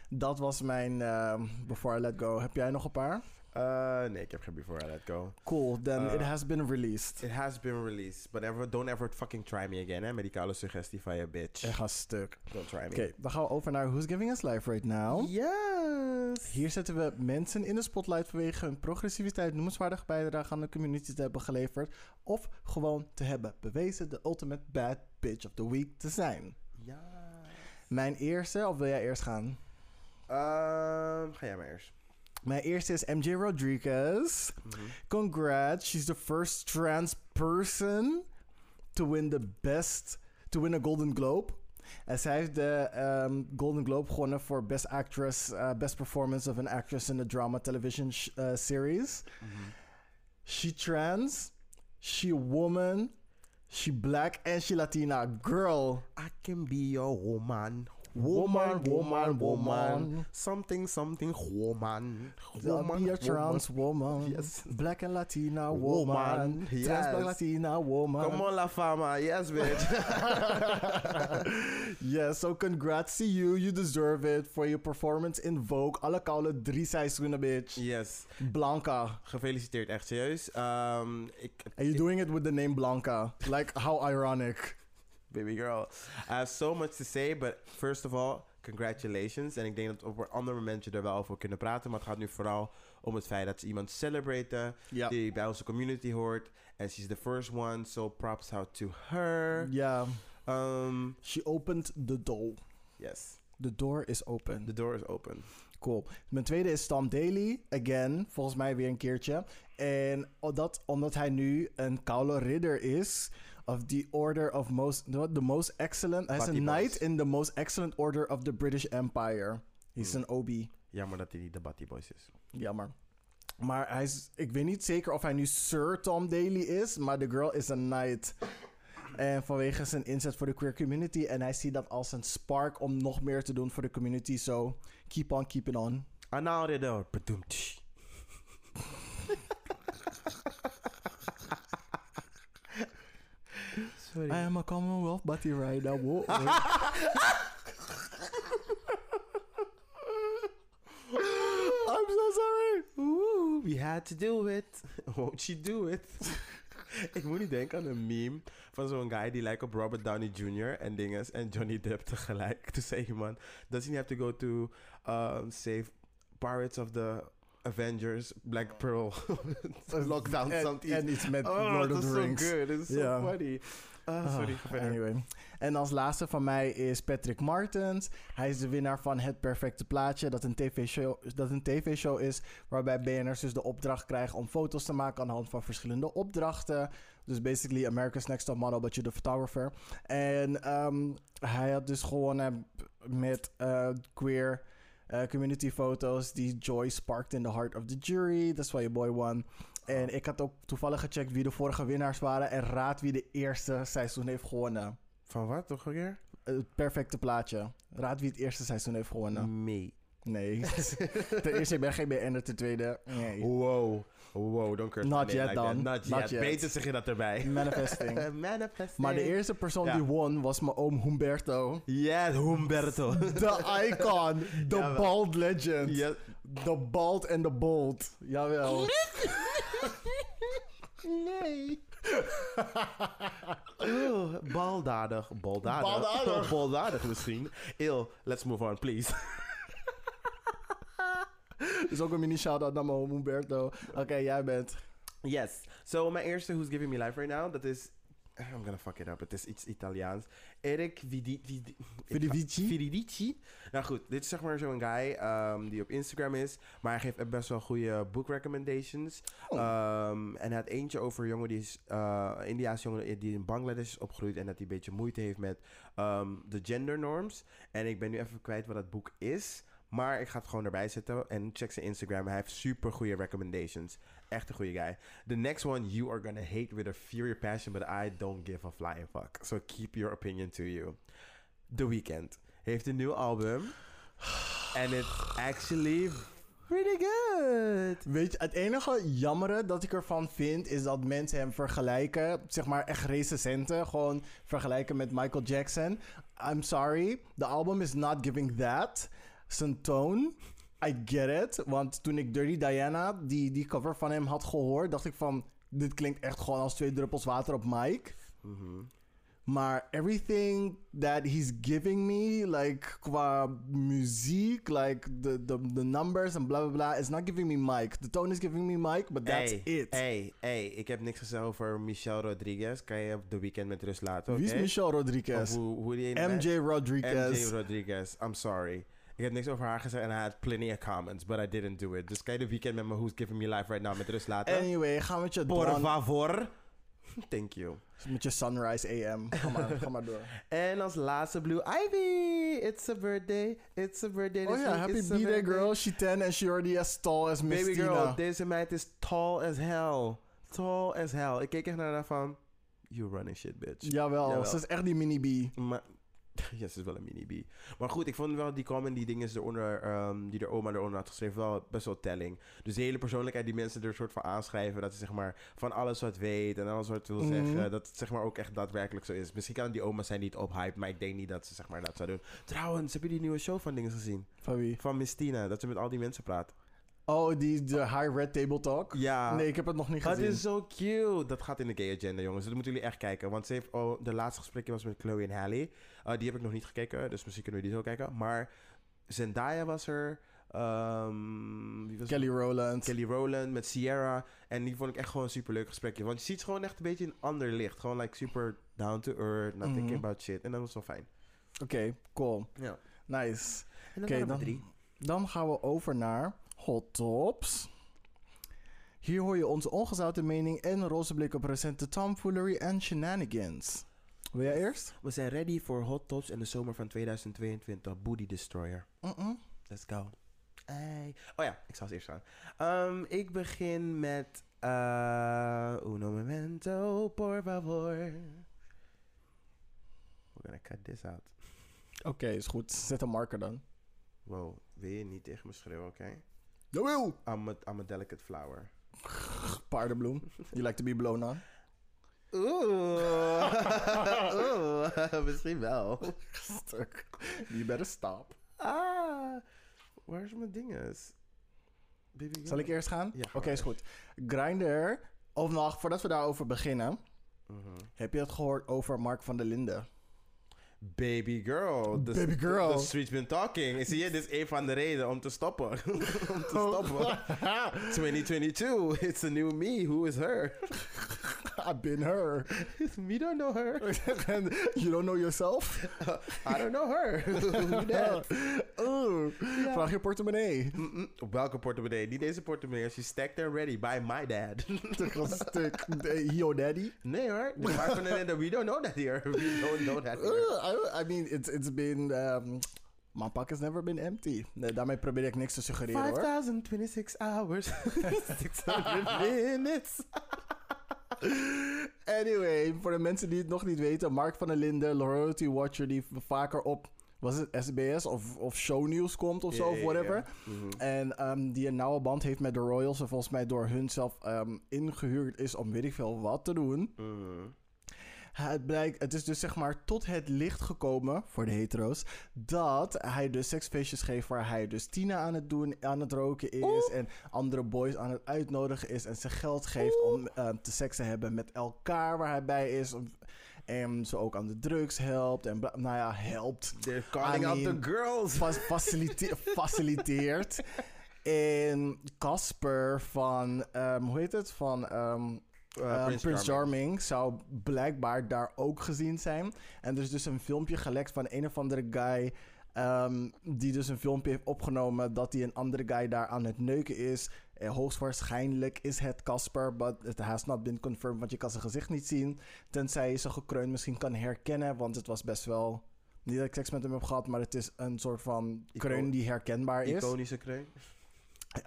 B: Dat was mijn ehm, Before I Let Go. Heb jij nog een paar?
A: Uh, nee, ik heb geen Before I Let Go.
B: Cool, then
A: Eh,
B: it has been released.
A: It has been released, but ever, don't ever fucking try me again, hè? Medicale suggestie van je bitch.
B: Ik ga stuk.
A: Don't try me.
B: Oké, dan gaan we over naar Who's Giving Us Life Right Now.
A: Yes!
B: Hier zetten we mensen in de spotlight vanwege hun progressiviteit, noemenswaardige bijdrage aan de community te hebben geleverd. Of gewoon te hebben bewezen de ultimate bad bitch of the week te zijn.
A: Ja.
B: Mijn eerste, of wil jij eerst gaan?
A: Ehm, ga jij maar eerst.
B: Mijn eerste is MJ Rodriguez.
A: Mm-hmm.
B: Congrats, she's the first trans person to win the best, to win a Golden Globe. En zij heeft de ehm, Golden Globe gewonnen voor Best Actress, eh, Best Performance of an Actress in a Drama Television sh- eh, Series.
A: Mm-hmm.
B: She trans, she woman, she black and she Latina. Girl,
A: I can be a woman.
B: Woman, woman, woman.
A: Something, something, woman.
B: be a trans woman.
A: Yes.
B: Black and Latina woman.
A: Woman,
B: Trans
A: yes.
B: black Latina woman.
A: Come on, La Fama. Yes, bitch.
B: Yes, so congrats to you. You deserve it for your performance in Vogue. Alle koude drie seizoenen, bitch.
A: yes.
B: Blanca.
A: Gefeliciteerd, echt serieus. Ehm, ik,
B: And you're doing it with the name Blanca. Like, how ironic.
A: baby girl. I have so much to say, but first of all, congratulations. En ik denk dat we op een ander moment je er wel over kunnen praten. Maar het gaat nu vooral om het feit dat ze iemand celebraten
B: Ja.
A: die bij onze community hoort. En she's the first one, so props out to her.
B: Yeah,
A: Um,
B: she opened the door.
A: yes,
B: The door is open.
A: the door is open.
B: Cool. Mijn tweede is Stam Daly. Again, volgens mij weer een keertje. En o- dat omdat hij nu een koude ridder is. Of the order of most... The most excellent... Hij is een
A: Patibos.
B: knight in the most excellent order of the British Empire. He's een obi.
A: Jammer dat hij niet de Batty Boys is.
B: Jammer. Maar hij is, ik weet niet zeker of hij nu Sir Tom Daly is, maar de girl is een knight. En vanwege zijn inzet voor de queer community. En hij ziet dat als een spark om nog meer te doen voor de community. So, keep on keeping on.
A: Ah, nou, de door. Bedoemd.
B: I am a Commonwealth Buddy Rider. Wow.
A: I'm so sorry. Ooh, we had to do it. Won't she do it? Ik moet niet denken aan een meme van zo'n guy die lijkt op Robert Downey Jr. en dinges en Johnny Depp tegelijk. Toen zei iemand, does he have to go to um, save Pirates of the Avengers, Black Pearl, Lockdown,
B: En-
A: something.
B: En iets met
A: oh,
B: Lord of
A: that's
B: the
A: so
B: Rings.
A: good. It's so
B: Ja.
A: funny. Ah,
B: Ah,
A: sorry, ga verder.
B: anyway. En als laatste van mij is Patrick Martens. Hij is de winnaar van Het Perfecte Plaatje. Dat een tv-show, dat een TV-show is waarbij BN'ers dus de opdracht krijgen om foto's te maken aan de hand van verschillende opdrachten. Dus basically America's Next Top Model, but you're the photographer. En ehm, hij had dus gewonnen met eh, queer eh, community foto's die Joy sparked in the heart of the jury. That's why your boy won. En ik had ook toevallig gecheckt wie de vorige winnaars waren. En raad wie de eerste seizoen heeft gewonnen. Eh,
A: Van wat, toch een keer?
B: Het perfecte plaatje. Raad wie het eerste seizoen heeft gewonnen.
A: Me.
B: Nee. Ten eerste, ik ben geen BN'er. Ten tweede, nee.
A: Wow. Wow, don't curse
B: Not
A: my name
B: yet
A: like that.
B: dan.
A: Not,
B: Not
A: yet.
B: yet.
A: Beter zeg je dat erbij.
B: Manifesting.
A: Manifesting.
B: Maar de eerste persoon
A: Ja.
B: die won was mijn oom Humberto.
A: Yes, Humberto.
B: De icon. The
A: Jawel.
B: bald legend.
A: yes.
B: The bald and the bold. Jawel.
A: Nee. Eeuw, baldadig. Baldadig.
B: Baldadig.
A: Baldadig misschien. Ew, let's move on, please.
B: Dus ook een mini shout-out naar mijn oom Humberto. Oké, jij bent.
A: Yes. So, mijn eerste Who's Giving Me Life right now, dat is... eh, I'm gonna fuck it up. Het is iets Italiaans. Eric Vidi... Vidi-
B: Viridici?
A: Viridici. Nou goed, dit is zeg maar zo'n guy ehm, die op Instagram is. Maar hij geeft best wel goede book recommendations.
B: Oh.
A: Ehm, en hij had eentje over een jongen die is... eh Indiaas jongen die in Bangladesh is opgegroeid. En dat hij een beetje moeite heeft met ehm, de gendernorms. En ik ben nu even kwijt wat dat boek is. Maar ik ga het gewoon erbij zetten. En check zijn Instagram. Hij heeft super goede recommendations. Echt een goede guy. The next one you are gonna hate with a fury passion, but I don't give a flying fuck. So keep your opinion to you. The Weeknd heeft een nieuw album. And it's actually
B: Pretty good. Weet je, het enige jammere dat ik ervan vind is dat mensen hem vergelijken, zeg maar echt recensenten, gewoon vergelijken met Michael Jackson. I'm sorry, the album is not giving that. Zijn tone, I get it. Want toen ik Dirty Diana, die, die cover van hem had gehoord, dacht ik van, dit klinkt echt gewoon als twee druppels water op Mike.
A: Mm-hmm.
B: Maar everything that he's giving me, like qua muziek, like the, the, the numbers en bla bla bla, is not giving me Mike. The tone is giving me Mike, but that's
A: hey,
B: it.
A: Hey, hey, ik heb niks gezegd over Michel Rodriguez. Kan je op de weekend met rust laten?
B: Wie is
A: oké?
B: Michelle
A: Of
B: Rodriguez?
A: hoe, hoe die ene-
B: MJ Rodriguez.
A: MJ Rodriguez. I'm sorry. Ik heb niks over haar gezegd en hij had plenty of comments, but I didn't do it. Dus kan je de weekend met me Who's Giving Me Life Right Now met rust laten?
B: anyway, ga met je,
A: Por
B: dawn-
A: favor. Thank you.
B: met je Sunrise AM. Ga maar, ga maar door.
A: En als laatste Blue Ivy. It's a birthday. It's a birthday.
B: Oh
A: this
B: ja,
A: week.
B: happy
A: It's a
B: birthday
A: birthday.
B: girl. She 10 and she already as tall as Miss
A: Baby
B: Tina.
A: girl, deze meid is tall as hell. Tall as hell. Ik keek echt naar haar van... You running shit, bitch.
B: Jawel,
A: Jawel.
B: ze is echt die mini B.
A: Maar... Ja, ze is wel een mini-B. Maar goed, ik vond wel die comment die dingen eronder, ehm, die de oma eronder had geschreven, wel best wel telling. Dus de hele persoonlijkheid die mensen er soort van aanschrijven, dat ze zeg maar van alles wat weet en alles wat wil
B: Mhm.
A: zeggen, dat het zeg maar ook echt daadwerkelijk zo is. Misschien kan het die oma zijn die het ophype, maar ik denk niet dat ze zeg maar dat zou doen. Trouwens, heb je die nieuwe show van dingen gezien?
B: Van wie?
A: Van Miss Tina, dat ze met al die mensen praat.
B: Oh, die de High Red Table Talk?
A: Ja.
B: Nee, ik heb het nog niet
A: Dat
B: gezien.
A: is zo cute. Dat gaat in de gay agenda, jongens. Dat moeten jullie echt kijken. Want ze heeft, oh, de laatste gesprekje was met Chloe en Halle. Eh, die heb ik nog niet gekeken, dus misschien kunnen we die zo kijken. Maar Zendaya was er. ehm, wie was
B: Kelly Rowland.
A: Kelly Rowland met Sierra. En die vond ik echt gewoon een superleuk gesprekje. Want je ziet ze gewoon echt een beetje in een ander licht. Gewoon like super down to earth, not thinking
B: Mhm.
A: about shit. En dat was wel fijn.
B: Oké, cool.
A: Ja.
B: Nice.
A: En dan
B: Oké,
A: waren we
B: dan-
A: drie.
B: Dan gaan we over naar Hot Tops. Hier hoor je onze ongezouten mening en roze blik op recente tomfoolery en shenanigans. Wil jij eerst?
A: We zijn ready voor Hot Tops en de zomer van 2022. Booty Destroyer.
B: Mm-mm.
A: Let's go. Hey. Oh ja, ik zal als eerst gaan. Ehm, ik begin met eh Uno Momento, por favor. We're gonna cut this out.
B: Oké, is goed. Zet een marker dan.
A: Wow, wil je niet tegen me schreeuwen, oké?
B: Jawel!
A: I'm, a- I'm a delicate flower.
B: Paardenbloem. You like to be blown on.
A: Oeh. Oeh, misschien wel.
B: Stuk. You better stop.
A: Ah, waar is mijn dinges? Baby girl.
B: Zal ik eerst gaan?
A: Ja, ga
B: Oké,
A: maar
B: is goed. Grindr. Of nog, voordat we daarover beginnen.
A: Mhm.
B: Heb je het gehoord over Mark van der Linden?
A: Baby girl. The,
B: Baby girl.
A: The streets been talking. Zie je, dit is een van de redenen om te stoppen. om te
B: Oh.
A: stoppen. 2022, it's a new me. Who is her?
B: I've been her.
A: me don't know her.
B: And you don't know yourself?
A: I don't know her. Who that?
B: Oh,
A: Ja.
B: vraag je portemonnee.
A: Mm-mm. Op welke portemonnee? Niet deze portemonnee. She stacked and ready by my dad.
B: Dat was het stuk. De- Yo daddy.
A: nee hoor. De Mark van der Linden, we don't know that here. We don't know that here.
B: Uh, I, I mean, it's, it's been... ehm, mijn pak has never been empty. Nee, daarmee probeer ik niks te suggereren hoor.
A: 5026 hours. 600 minutes.
B: Anyway, voor de mensen die het nog niet weten. Mark van der Linden, Loyalty Watcher, die v- vaker op... Was het SBS of, of shownieuws komt of zo,
A: Ja,
B: of
A: ja,
B: whatever.
A: ja. Mhm.
B: En ehm, die een nauwe band heeft met de Royals. En volgens mij door hun zelf ehm, ingehuurd is om weet ik veel wat te doen.
A: Mhm.
B: Het, blijkt, het is dus zeg maar tot het licht gekomen, voor de hetero's, dat hij dus seksfeestjes geeft waar hij dus Tina aan het doen, aan het roken is en andere boys aan het uitnodigen is en ze geld geeft om eh, te seks te hebben met elkaar waar hij bij is en ze ook aan de drugs helpt en bla- nou ja, helpt,
A: They're calling
B: I
A: out
B: mean-
A: the girls.
B: fa- facilite- faciliteert. En Casper van, ehm, hoe heet het, van... ehm,
A: Uh,
B: Prins Prince Charming zou blijkbaar daar ook gezien zijn. En er is dus een filmpje gelekt van een of andere guy. ehm, die dus een filmpje heeft opgenomen dat hij een andere guy daar aan het neuken is. Eh, hoogstwaarschijnlijk is het Casper, but it has not been confirmed, want je kan zijn gezicht niet zien. Tenzij je zijn gekreun misschien kan herkennen, want het was best wel... Niet dat ik seks met hem heb gehad, maar het is een soort van
A: Icoon-
B: kreun die herkenbaar is.
A: Iconische kreun.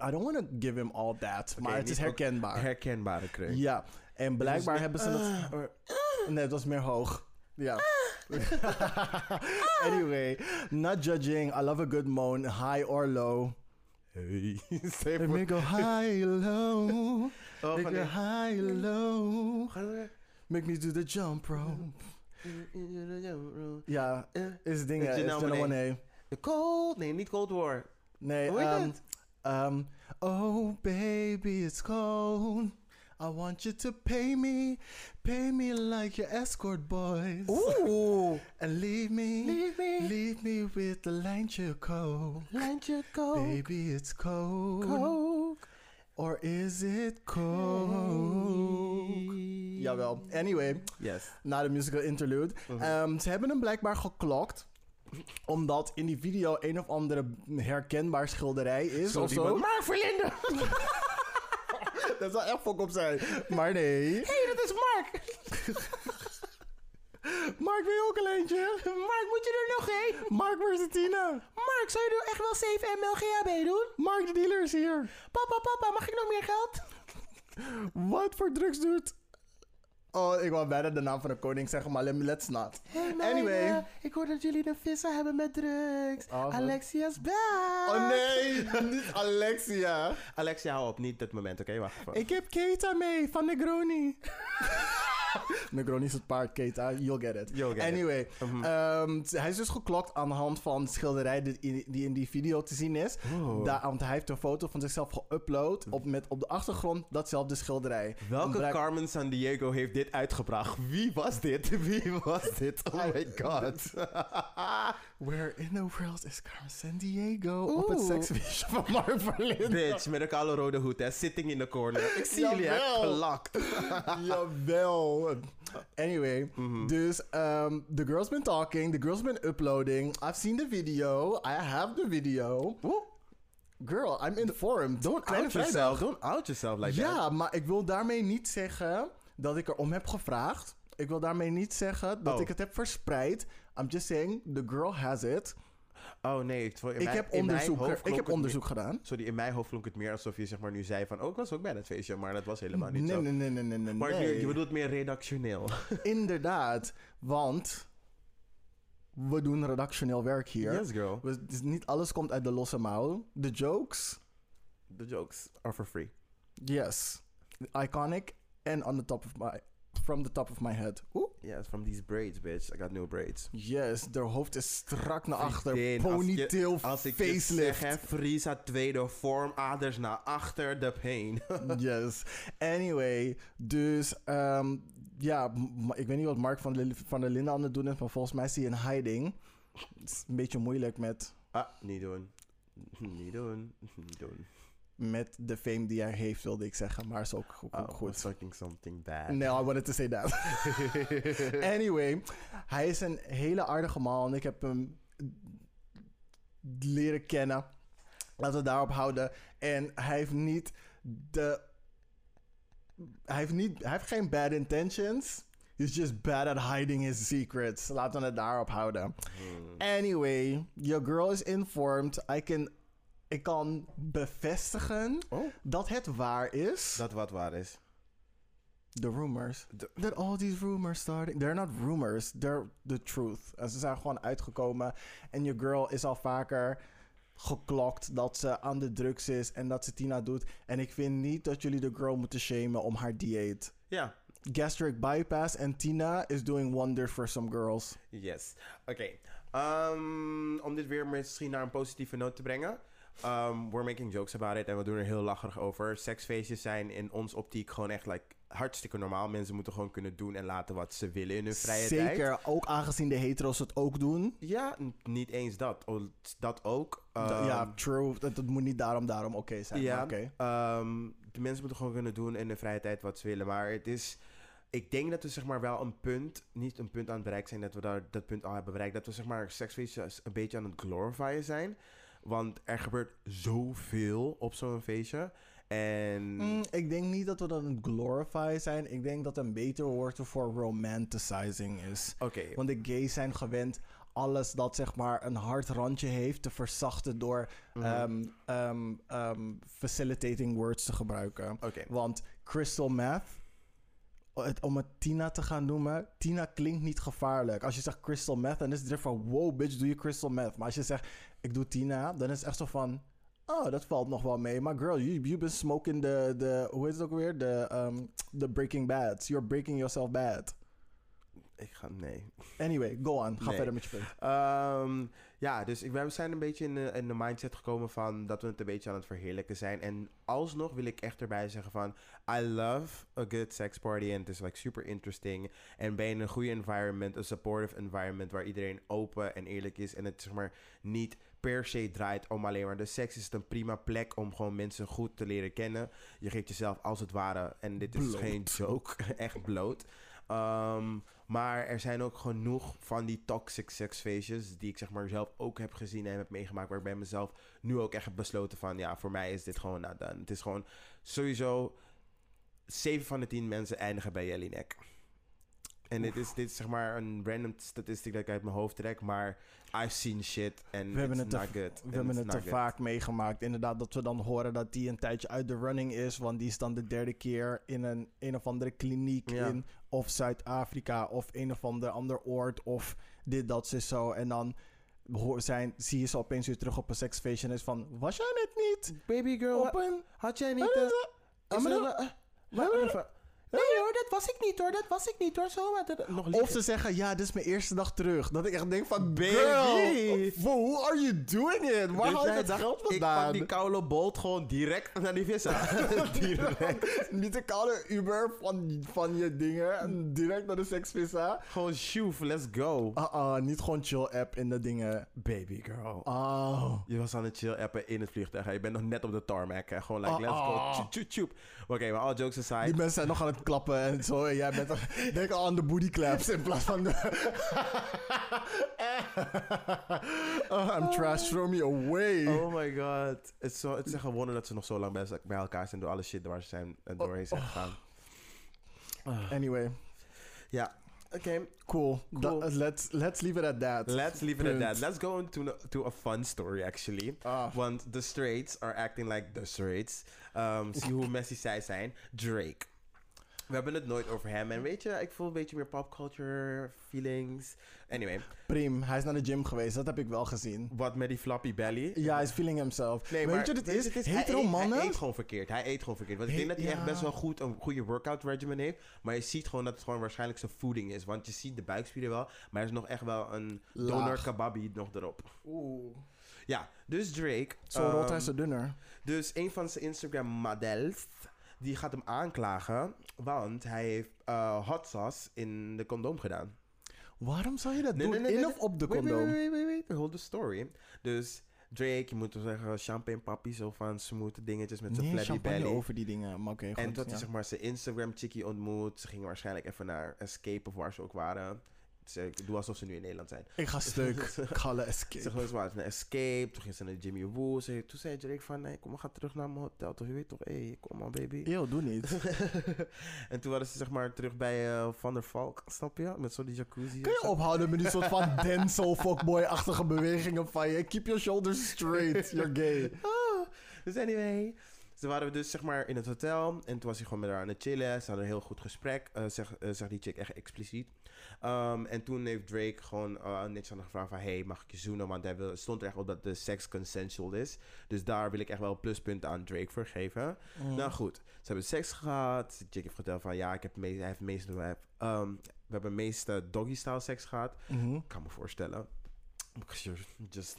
B: I don't want to give him all that,
A: Oké,
B: maar het
A: niet
B: is
A: ook-
B: herkenbaar.
A: Herkenbare kreun.
B: Ja, en blijkbaar
A: meer-
B: hebben ze dat... eh, Nee, het was meer hoog. Ja. Ah. anyway, not judging. I love a good moan, high or low.
A: Hey. Stel je
B: Let
A: voor-
B: me go high, low.
A: Oh,
B: Make me
A: van die-
B: high, low.
A: Ga door.
B: Make me do the jump rope. Ja, is nou dingen.
A: Is
B: Is
A: Janelle
B: Janelle
A: Monáe.
B: Monáe.
A: De Cold. Nee, niet Cold War.
B: Nee,
A: Hoe heet
B: ehm,
A: het?
B: ehm, oh baby, it's cold. I want you to pay me, pay me like your escort boys.
A: Oeh.
B: And leave me,
A: Leave me.
B: leave me with the lijntje cold.
A: Lijntje Cold.
B: Baby, it's cold.
A: Coke.
B: Or is it cold? Jawel. Anyway,
A: Yes.
B: na de musical interlude.
A: Mhm.
B: Ehm, ze hebben hem blijkbaar geklokt omdat in die video een of andere herkenbaar schilderij is
A: Zo
B: of
A: die
B: zo.
A: man- Mark Verlinde.
B: Dat zou echt fok op zijn. Maar nee.
A: Hé, dat is Mark.
B: Mark, wil je ook een eentje?
A: Mark, moet je er nog heen?
B: Mark Mercetina.
A: Mark, zou je er echt wel 7 ml GHB doen?
B: Mark de dealer is hier.
A: Papa, papa, mag ik nog meer geld?
B: Wat voor drugs doet... Oh, ik wou bijna de naam van de koning zeggen, maar let- let's not. Anyway.
A: eh, ik hoor dat jullie een vissen hebben met drugs.
B: Oh, wat-
A: Alexia's back.
B: Oh nee, niet Alexia.
A: Alexia, hou op. Niet dit moment, oké? Wacht even.
B: Ik heb Keita mee van Negroni. Negroni is het paard, Keita. You'll get it.
A: You'll get it.
B: anyway,
A: Mhm.
B: ehm, t- hij is dus geklokt aan de hand van de schilderij die in, die in die video te zien is.
A: Oh.
B: Daar, want hij heeft een foto van zichzelf geüpload op, met op de achtergrond datzelfde schilderij.
A: Welke
B: Blijk-
A: Carmen San Diego heeft dit uitgebracht? Wie was dit? Wie was dit? Oh my god.
B: Where in the world is Carmen San Diego? Op het
A: Oeh.
B: seksfeestje van Mark Verlinde.
A: Bitch, met een kale rode hoed, hè. Sitting in the corner. Ik zie jullie, hè.
B: Jawel.
A: Gelakt.
B: Jawel. Anyway,
A: Mhm.
B: dus ehm, the girl's been talking, the girl's been uploading. I've seen the video, I have the video. Girl, I'm informed. Don't
A: Out yourself. Don't out yourself like that.
B: Ja, maar ik wil daarmee niet zeggen dat ik erom heb gevraagd. Ik wil daarmee niet zeggen dat
A: Oh.
B: ik het heb verspreid. I'm just saying, the girl has it.
A: Oh nee, ik,
B: Ik heb, onderzoek, ik heb onderzoek
A: gedaan.
B: gedaan.
A: Sorry, in mijn hoofd klonk het meer alsof je zeg maar nu zei van... Oh, ik was ook bij dat feestje, maar dat was helemaal niet
B: Nee,
A: zo.
B: nee, nee, nee, nee, nee.
A: Maar nu-
B: nee.
A: je bedoelt meer redactioneel.
B: Inderdaad, want we doen redactioneel werk hier.
A: Yes, girl.
B: We- dus niet alles komt uit de losse mouw. De jokes,
A: The jokes are for free.
B: yes. Iconic and on the top of my, from the top of my head. Oeh.
A: Yes, from these braids, bitch. I got new braids.
B: Yes, haar hoofd is strak naar achter.
A: Vriendin, als je-
B: Ponytail,
A: Als ik je zeg,
B: facelift.
A: hè, Friesa tweede vorm, aders naar achter, de pain.
B: yes. Anyway, dus ehm, ja, m- ik weet niet wat Mark van, de, van der Linden aan het doen is, maar volgens mij is hij in hiding. Het is een beetje moeilijk met
A: Ah, niet doen. Niet doen. Niet doen.
B: met de fame die hij heeft, wilde ik zeggen. Maar is ook, ook- ook
A: Oh,
B: goed.
A: Fucking something bad.
B: No, I wanted to say that. anyway, hij is een hele aardige man. Ik heb hem leren kennen. Laten we daarop houden. En hij heeft niet de... Hij heeft, niet, hij heeft geen bad intentions. He's just bad at hiding his secrets. Laten we het daarop houden.
A: Hmm.
B: Anyway, your girl is informed. I can, ik kan bevestigen
A: Oh.
B: dat het waar is.
A: Dat wat waar is.
B: The rumors.
A: De-
B: That all these rumors starting. They're not rumors, they're the truth. En ze zijn gewoon uitgekomen. En je girl is al vaker geklokt dat ze aan de drugs is en dat ze Tina doet. En ik vind niet dat jullie de girl moeten shamen om haar dieet.
A: Ja.
B: Gastric bypass en Tina is doing wonders for some girls.
A: Yes. Oké. Ehm, om dit weer misschien naar een positieve noot te brengen. Ehm, we're making jokes about it en we doen er heel lacherig over. Seksfeestjes zijn in ons optiek gewoon echt like, hartstikke normaal. Mensen moeten gewoon kunnen doen en laten wat ze willen in hun vrije tijd.
B: Zeker, ook aangezien de hetero's het ook doen.
A: Ja, n- niet eens dat. O- Dat ook.
B: Da-
A: Ehm,
B: ja, true. Dat, dat moet niet daarom, daarom oké zijn.
A: Ja,
B: Ja. Oké.
A: ehm, de mensen moeten gewoon kunnen doen in de vrije tijd wat ze willen. Maar het is. Ik denk dat we zeg maar wel een punt, niet een punt aan het bereiken zijn, dat we daar dat punt al hebben bereikt. Dat we zeg maar seksfeestjes een beetje aan het glorifyen zijn. Want er gebeurt zoveel op zo'n feestje. En
B: Mm, ik denk niet dat we dat een glorify zijn. Ik denk dat een beter woord ervoor romanticizing is.
A: oké,
B: Want de gays zijn gewend alles dat zeg maar een hard randje heeft te verzachten door
A: Mhm.
B: ehm, ehm, ehm, facilitating words te gebruiken.
A: oké.
B: Want crystal meth, het, om het Tina te gaan noemen, Tina klinkt niet gevaarlijk. Als je zegt crystal meth, dan is het er van wow bitch, doe je crystal meth. Maar als je zegt ik doe Tina, dan is het echt zo van Oh, dat valt nog wel mee. Maar girl, you, you been smoking the, the... Hoe heet het ook weer? The, um, the Breaking Bads. You're breaking yourself bad.
A: Ik ga... Nee.
B: Anyway, go on. Ga
A: Nee.
B: verder met je punt.
A: Ehm, ja, dus ik, we zijn een beetje in de, in de mindset gekomen van dat we het een beetje aan het verheerlijken zijn. En alsnog wil ik echt erbij zeggen van, I love a good sex party en het is like super interesting. En ben je in een goede environment, een supportive environment waar iedereen open en eerlijk is. En het zeg maar niet per se draait om alleen maar de seks. Is het een prima plek om gewoon mensen goed te leren kennen. Je geeft jezelf als het ware, en dit is
B: Bloot.
A: geen joke, echt bloot. Ehm, maar er zijn ook genoeg van die toxic seksfeestjes die ik zeg maar zelf ook heb gezien en heb meegemaakt. Waar ik bij mezelf nu ook echt heb besloten van ja, voor mij is dit gewoon nou dan. Het is gewoon sowieso 7 van de 10 mensen eindigen bij Jellinek. En dit is, dit is zeg maar een random statistiek dat ik uit mijn hoofd trek, maar I've seen shit and
B: We hebben
A: it's
B: het te-
A: not good.
B: We hebben het te vaak meegemaakt. Inderdaad, dat we dan horen dat die een tijdje uit de running is. Want die is dan de derde keer in een, een of andere kliniek
A: Ja.
B: in... Of Zuid-Afrika of een of ander, ander oord of dit, dat, ze zo. En dan hoor- zijn, zie je ze opeens weer terug op een seksfeestje en is van... Was jij net niet?
A: Baby girl, Ah,
B: Op een...
A: had jij
B: niet, eh, is
A: ah, Nee hoor, dat was ik niet hoor, dat was ik niet hoor. Zo, nog
B: Of ze zeggen, ja, dit is mijn eerste dag terug. Dat ik echt denk van, baby,
A: Girl,
B: who are you doing it? Waar haal je
A: jij
B: dat
A: dacht,
B: geld
A: Ik pak die
B: vandaan?
A: koude bolt gewoon direct naar die vis aan. direct.
B: Niet de koude Uber van, van je dingen, direct naar de seksvisa.
A: Gewoon shoef, let's go.
B: Ah, ah, niet gewoon chill-app in de dingen.
A: Baby girl.
B: Oh.
A: Je was aan het chill appen in het vliegtuig. hè. Je bent nog net op de tarmac. Hè. Gewoon like,
B: Ah,
A: let's go.
B: ah.
A: Tjoep, tjoep, tjoep. Oké, maar all jokes aside.
B: Die mensen zijn nog aan het klappen en zo. En jij bent er- denk al aan de booty claps in plaats van de... oh, I'm trash, throw me away.
A: Oh my god. Het is, zo, het is echt een wonder dat ze nog zo lang bij, bij elkaar zijn door alle shit waar ze zijn, eh, doorheen zijn gegaan. Oh.
B: Anyway,
A: Ja. Oké,
B: cool.
A: Cool.
B: Da- let's, let's leave it at that.
A: let's leave it at
B: Punt.
A: that. Let's go into to a fun story actually.
B: Ah.
A: Want the straights are acting like the straights. Um, zie hoe messy zij zijn. Drake. We hebben het nooit over hem. En weet je, ik voel een beetje meer popculture feelings. Anyway,
B: Prim, hij is naar de gym geweest, dat heb ik wel gezien.
A: wat met die flappy belly.
B: Ja, hij is feeling himself.
A: Nee,
B: Weet
A: maar
B: je, dit
A: weet
B: is,
A: het hij
B: hetero
A: eet-
B: mannen.
A: Hij eet gewoon verkeerd. Hij eet gewoon verkeerd. Want ik
B: He-
A: denk dat hij echt
B: ja.
A: best wel goed een goede workout regimen heeft. Maar je ziet gewoon dat het gewoon waarschijnlijk zijn voeding is. Want je ziet de buikspieren wel. Maar er is nog echt wel een
B: Laag.
A: donor kababi nog erop.
B: Oeh.
A: Ja, dus Drake.
B: Zo rolt hij
A: ehm,
B: ze dunner.
A: dus een van zijn Instagram models, die gaat hem aanklagen, want hij heeft eh, hot sauce in de condoom gedaan.
B: Waarom zou je dat
A: Nee,
B: doen?
A: nee, nee,
B: In
A: nee,
B: of op de
A: Wait, wait,
B: condoom?
A: Wait, wait, wait, wait, hold the story. Dus Drake, je moet wel zeggen, champagne papi, zo van smoete dingetjes met zijn
B: Nee,
A: flabby
B: champagne
A: belly.
B: over die dingen. Maar oké,
A: En
B: goed,
A: dat
B: ja.
A: hij zeg maar zijn Instagram chickie ontmoet. Ze gingen waarschijnlijk even naar Escape of waar ze ook waren. Dus, eh, ik doe alsof ze nu in Nederland zijn.
B: Ik ga stuk. ik ga alle escape.
A: Ze gewoon ze waren naar Escape, toen ging ze naar Jimmy Woo. Ze, toen zei Drake van, nee, kom maar, ga terug naar mijn hotel. Toch, je weet toch, hé, hey, kom maar, baby.
B: Eeuw, doe niet.
A: en toen waren ze zeg maar terug bij eh, Van der Valk, snap je? Met zo'n die jacuzzi.
B: Kun je ophouden met die soort van dancehall fuckboy-achtige bewegingen van je? Keep your shoulders straight, you're gay.
A: Ah, dus anyway. Ze waren dus zeg maar in het hotel en toen was hij gewoon met haar aan het chillen. Ze hadden een heel goed gesprek, eh zegt eh, zegt die chick echt expliciet. Ehm, en toen heeft Drake gewoon eh, niks aan haar gevraagd van... hey, mag ik je zoenen? Want hij wil, het stond er echt op dat de seks consensual is. Dus daar wil ik echt wel pluspunten aan Drake voor geven.
B: Mm.
A: Nou goed, ze hebben seks gehad. Jake heeft verteld van ja, ik heb meest, hij heeft meest, hij heeft, ehm, we hebben meest doggy-style seks gehad.
B: Mhm.
A: Ik kan me voorstellen. Because you're just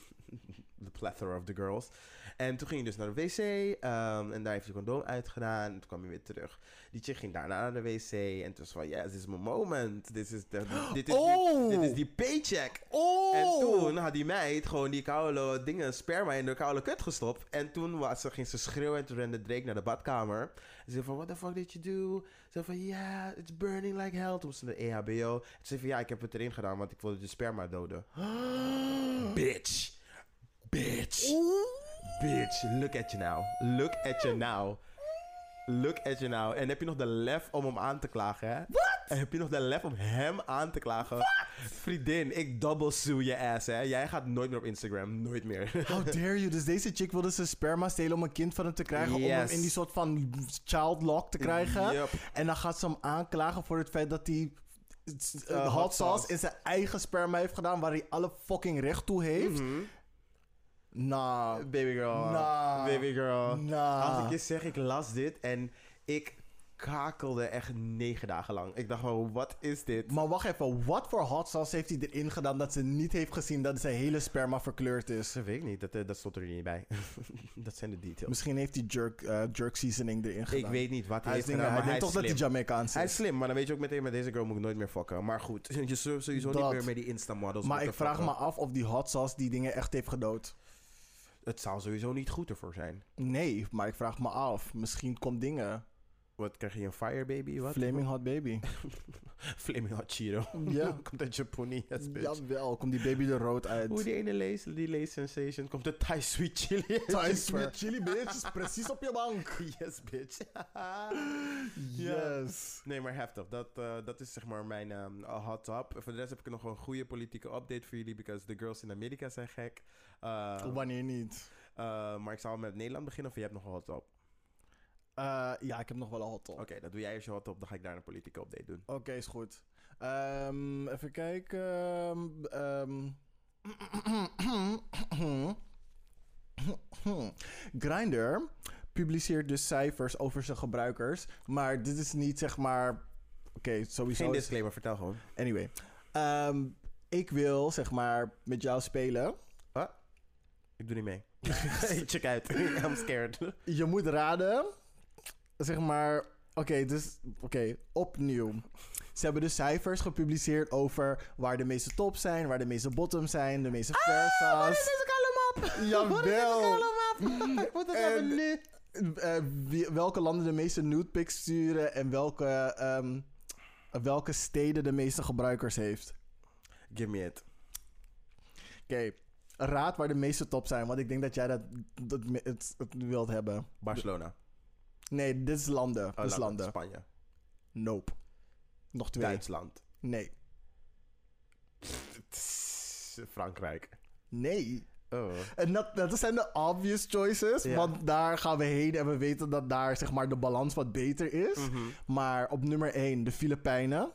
A: the plethora of the girls. En toen ging hij dus naar de wc. ehm, en daar heeft hij condoom uitgedaan. En toen kwam hij weer terug. Die chick ging daarna naar de wc. En toen was van, yes, this is my moment. This is the, dit, is
B: Oh!
A: die, dit is die paycheck.
B: Oh!
A: En toen had die meid gewoon die koude dingen, sperma in de koude kut gestopt. En toen was, ze, ging ze schreeuwen en toen rende Drake naar de badkamer. En ze zei van, what the fuck did you do? Ze zei van, yeah, it's burning like hell. Toen was ze de E EHBO. En ze zei van, ja, ik heb het erin gedaan, want ik wilde de sperma doden. Bitch. Bitch. Bitch, look at you now. Look at you now. Look at you now. En heb je nog de lef om hem aan te klagen, hè? Wat? En heb je nog de lef om hem aan te klagen? Vriendin, ik double sue je ass, hè? Jij gaat nooit meer op Instagram. Nooit meer.
B: How dare you? Dus deze chick wilde zijn sperma stelen om een kind van hem te krijgen. Om hem
A: Yes.
B: in die soort van child lock te krijgen.
A: Yep.
B: En dan gaat ze hem aanklagen voor het feit dat hij eh,
A: Eh,
B: hot sauce
A: hot sauce. Mhm.
B: in zijn eigen sperma heeft gedaan. Waar hij alle fucking recht toe heeft. Nah.
A: Baby girl.
B: Nah.
A: Baby girl. Als
B: Nah.
A: ik je zeg, ik las dit en ik kakelde echt negen dagen lang. Ik dacht gewoon, wat is dit?
B: Maar wacht even, wat voor hot sauce heeft hij erin gedaan dat ze niet heeft gezien dat zijn hele sperma verkleurd is?
A: Dat weet ik niet, dat, eh, dat stond er niet bij. dat zijn de details.
B: Misschien heeft hij jerk, eh, jerk seasoning erin gedaan.
A: Ik weet niet wat hij,
B: hij is
A: heeft
B: dingen-
A: gedaan,
B: Hij
A: maar hij
B: denkt toch
A: is
B: dat
A: slim.
B: hij Jamaicaans
A: Hij is
B: is.
A: slim, maar dan weet je ook meteen, met deze girl moet ik nooit meer fokken. Maar goed, je zult sowieso
B: Dat.
A: niet meer met die Insta-models
B: Maar
A: moeten
B: ik vraag me
A: fokken.
B: af of die hot sauce die dingen echt heeft gedood.
A: Het zou sowieso niet goed ervoor zijn.
B: Nee, maar ik vraag me af. Misschien komt dingen.
A: Wat, krijg je een fire baby? Wat?
B: Flaming hot baby.
A: Flaming hot Cheeto.
B: Ja.
A: Komt uit Japonie, yes, bitch.
B: Jawel, komt die baby er rood uit.
A: Hoe die ene lees, die lees sensation, komt de Thai sweet chili. uit
B: Thai
A: Japan.
B: sweet chili bitch, precies op je bank.
A: Yes, bitch. Ja.
B: Yes.
A: Nee, maar heftig. Dat, eh, dat is zeg maar mijn ehm, uh, hot top. Voor de rest heb ik nog een goede politieke update voor jullie. Because the girls in Amerika zijn gek. Eh,
B: Wanneer niet?
A: eh, maar ik zal met Nederland beginnen of je hebt nog een hot top?
B: Eh, ja, ik heb nog wel een hot top.
A: Oké, Oh, dat doe jij eerst je hot top. Dan ga ik daar een politieke update doen.
B: Oké, is goed. Ehm, even kijken. ehm, ehm. Grindr publiceert dus cijfers over zijn gebruikers. Maar dit is niet zeg maar. Oké, sowieso.
A: Geen
B: is-
A: disclaimer, vertel gewoon.
B: Anyway. Ehm, ik wil zeg maar met jou spelen.
A: Ik doe niet mee. Check uit. I'm scared.
B: Je moet raden. Zeg maar. Oké, dus. Oké, opnieuw. Ze hebben de cijfers gepubliceerd over waar de meeste tops zijn, waar de meeste bottoms zijn, de
A: Ah,
B: meeste
A: Oh,
B: versa's.
A: ik allemaal?
B: Jawel.
A: Ik moet het
B: En-
A: hebben nu.
B: Eh, wie- welke landen de meeste nude pics sturen en welke, ehm, welke steden de meeste gebruikers heeft.
A: Give me it.
B: Oké, raad waar de meeste tops zijn, want ik denk dat jij dat, dat me- het, het wilt hebben.
A: Barcelona.
B: Nee, dit is landen.
A: Oh,
B: dit is
A: laat-
B: landen.
A: Spanje.
B: Nope. Nog twee.
A: Duitsland.
B: Nee.
A: Frankrijk.
B: Nee.
A: Oh.
B: En dat, dat zijn de obvious choices.
A: Ja.
B: Want daar gaan we heen en we weten dat daar zeg maar, de balans wat beter is.
A: Mhm.
B: Maar op nummer 1, de Filipijnen.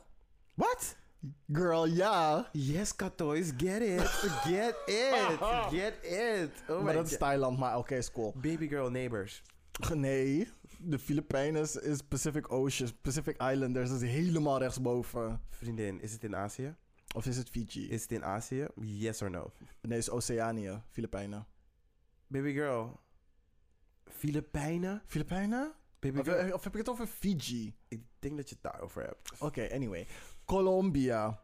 A: Wat? Oh
B: Girl, ja.
A: Yes, Katois, get it. Get it. Get it. Oh
B: maar
A: my
B: dat is
A: god.
B: Thailand, maar oké, is cool.
A: Baby girl neighbors.
B: Nee, de Filipijnen is, is Pacific Ocean, Pacific Islanders. Dat is helemaal rechtsboven.
A: Vriendin, is het in Azië?
B: Of is het Fiji?
A: Is het in Azië? Yes or no?
B: Nee, is Oceanië, Filipijnen.
A: Baby girl. Filipijnen?
B: Filipijnen?
A: Baby
B: Of,
A: girl.
B: of heb ik het over Fiji?
A: Ik denk dat je het daarover hebt.
B: Oké, anyway. Colombia.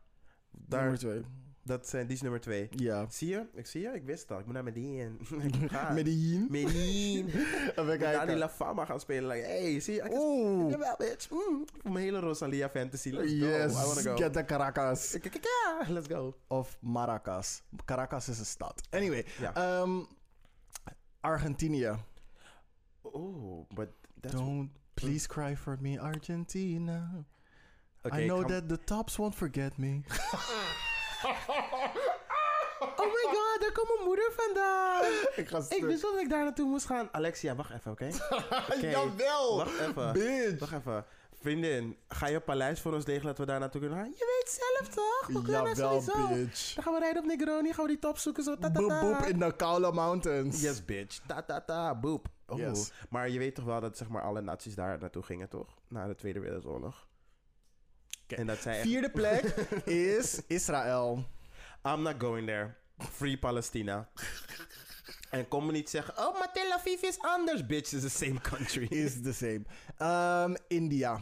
A: Daar-
B: Nummer 2.
A: Dat zijn, die is nummer twee.
B: Ja.
A: Zie je? Ik zie je? Ik wist dat. Ik moet naar Medellin. Ik moet gaan.
B: Medellin.
A: Medellin. Ik
B: Even
A: moet naar die
B: kijken.
A: La Fama gaan spelen. Like, hey, zie je? I can
B: Oeh.
A: Jawel, bitch. Mm. Mijn hele Rosalia fantasy. Let's
B: yes,
A: go. I wanna go.
B: get the Caracas.
A: Kikikika, Let's go.
B: Of Maracas. Caracas is een stad. Anyway,
A: Ja.
B: ehm, Argentinië.
A: Oh, but that's...
B: Don't please cry for me, Argentina.
A: Okay,
B: I know
A: come-
B: that the tops won't forget me.
A: Oh my god, daar komt mijn moeder vandaan.
B: Ik ga
A: ik wist wel dat ik daar naartoe moest gaan. Alexia, wacht even, oké? Oké,
B: Jawel!
A: Wacht even.
B: Bitch!
A: Wacht even. Vriendin, ga je paleis voor ons regelen dat we daar naartoe kunnen gaan? Je weet zelf toch? We kunnen daar
B: Jawel,
A: nou sowieso.
B: bitch.
A: Dan gaan we rijden op Negroni, gaan we die top zoeken, zo ta, ta,
B: Boep
A: ta.
B: boep in de Koude Mountains.
A: Yes, bitch. Ta ta ta, boep. Oh.
B: Yes.
A: Maar je weet toch wel dat zeg maar, alle nazi's daar naartoe gingen, toch? Na de Tweede Wereldoorlog.
B: Oké.
A: En dat zij echt-
B: Vierde plek is Israël.
A: I'm not going there. Free Palestina. en kom me niet zeggen, oh, maar Tel Aviv is anders. Bitch, it's the same country.
B: Is the same. Ehm, India.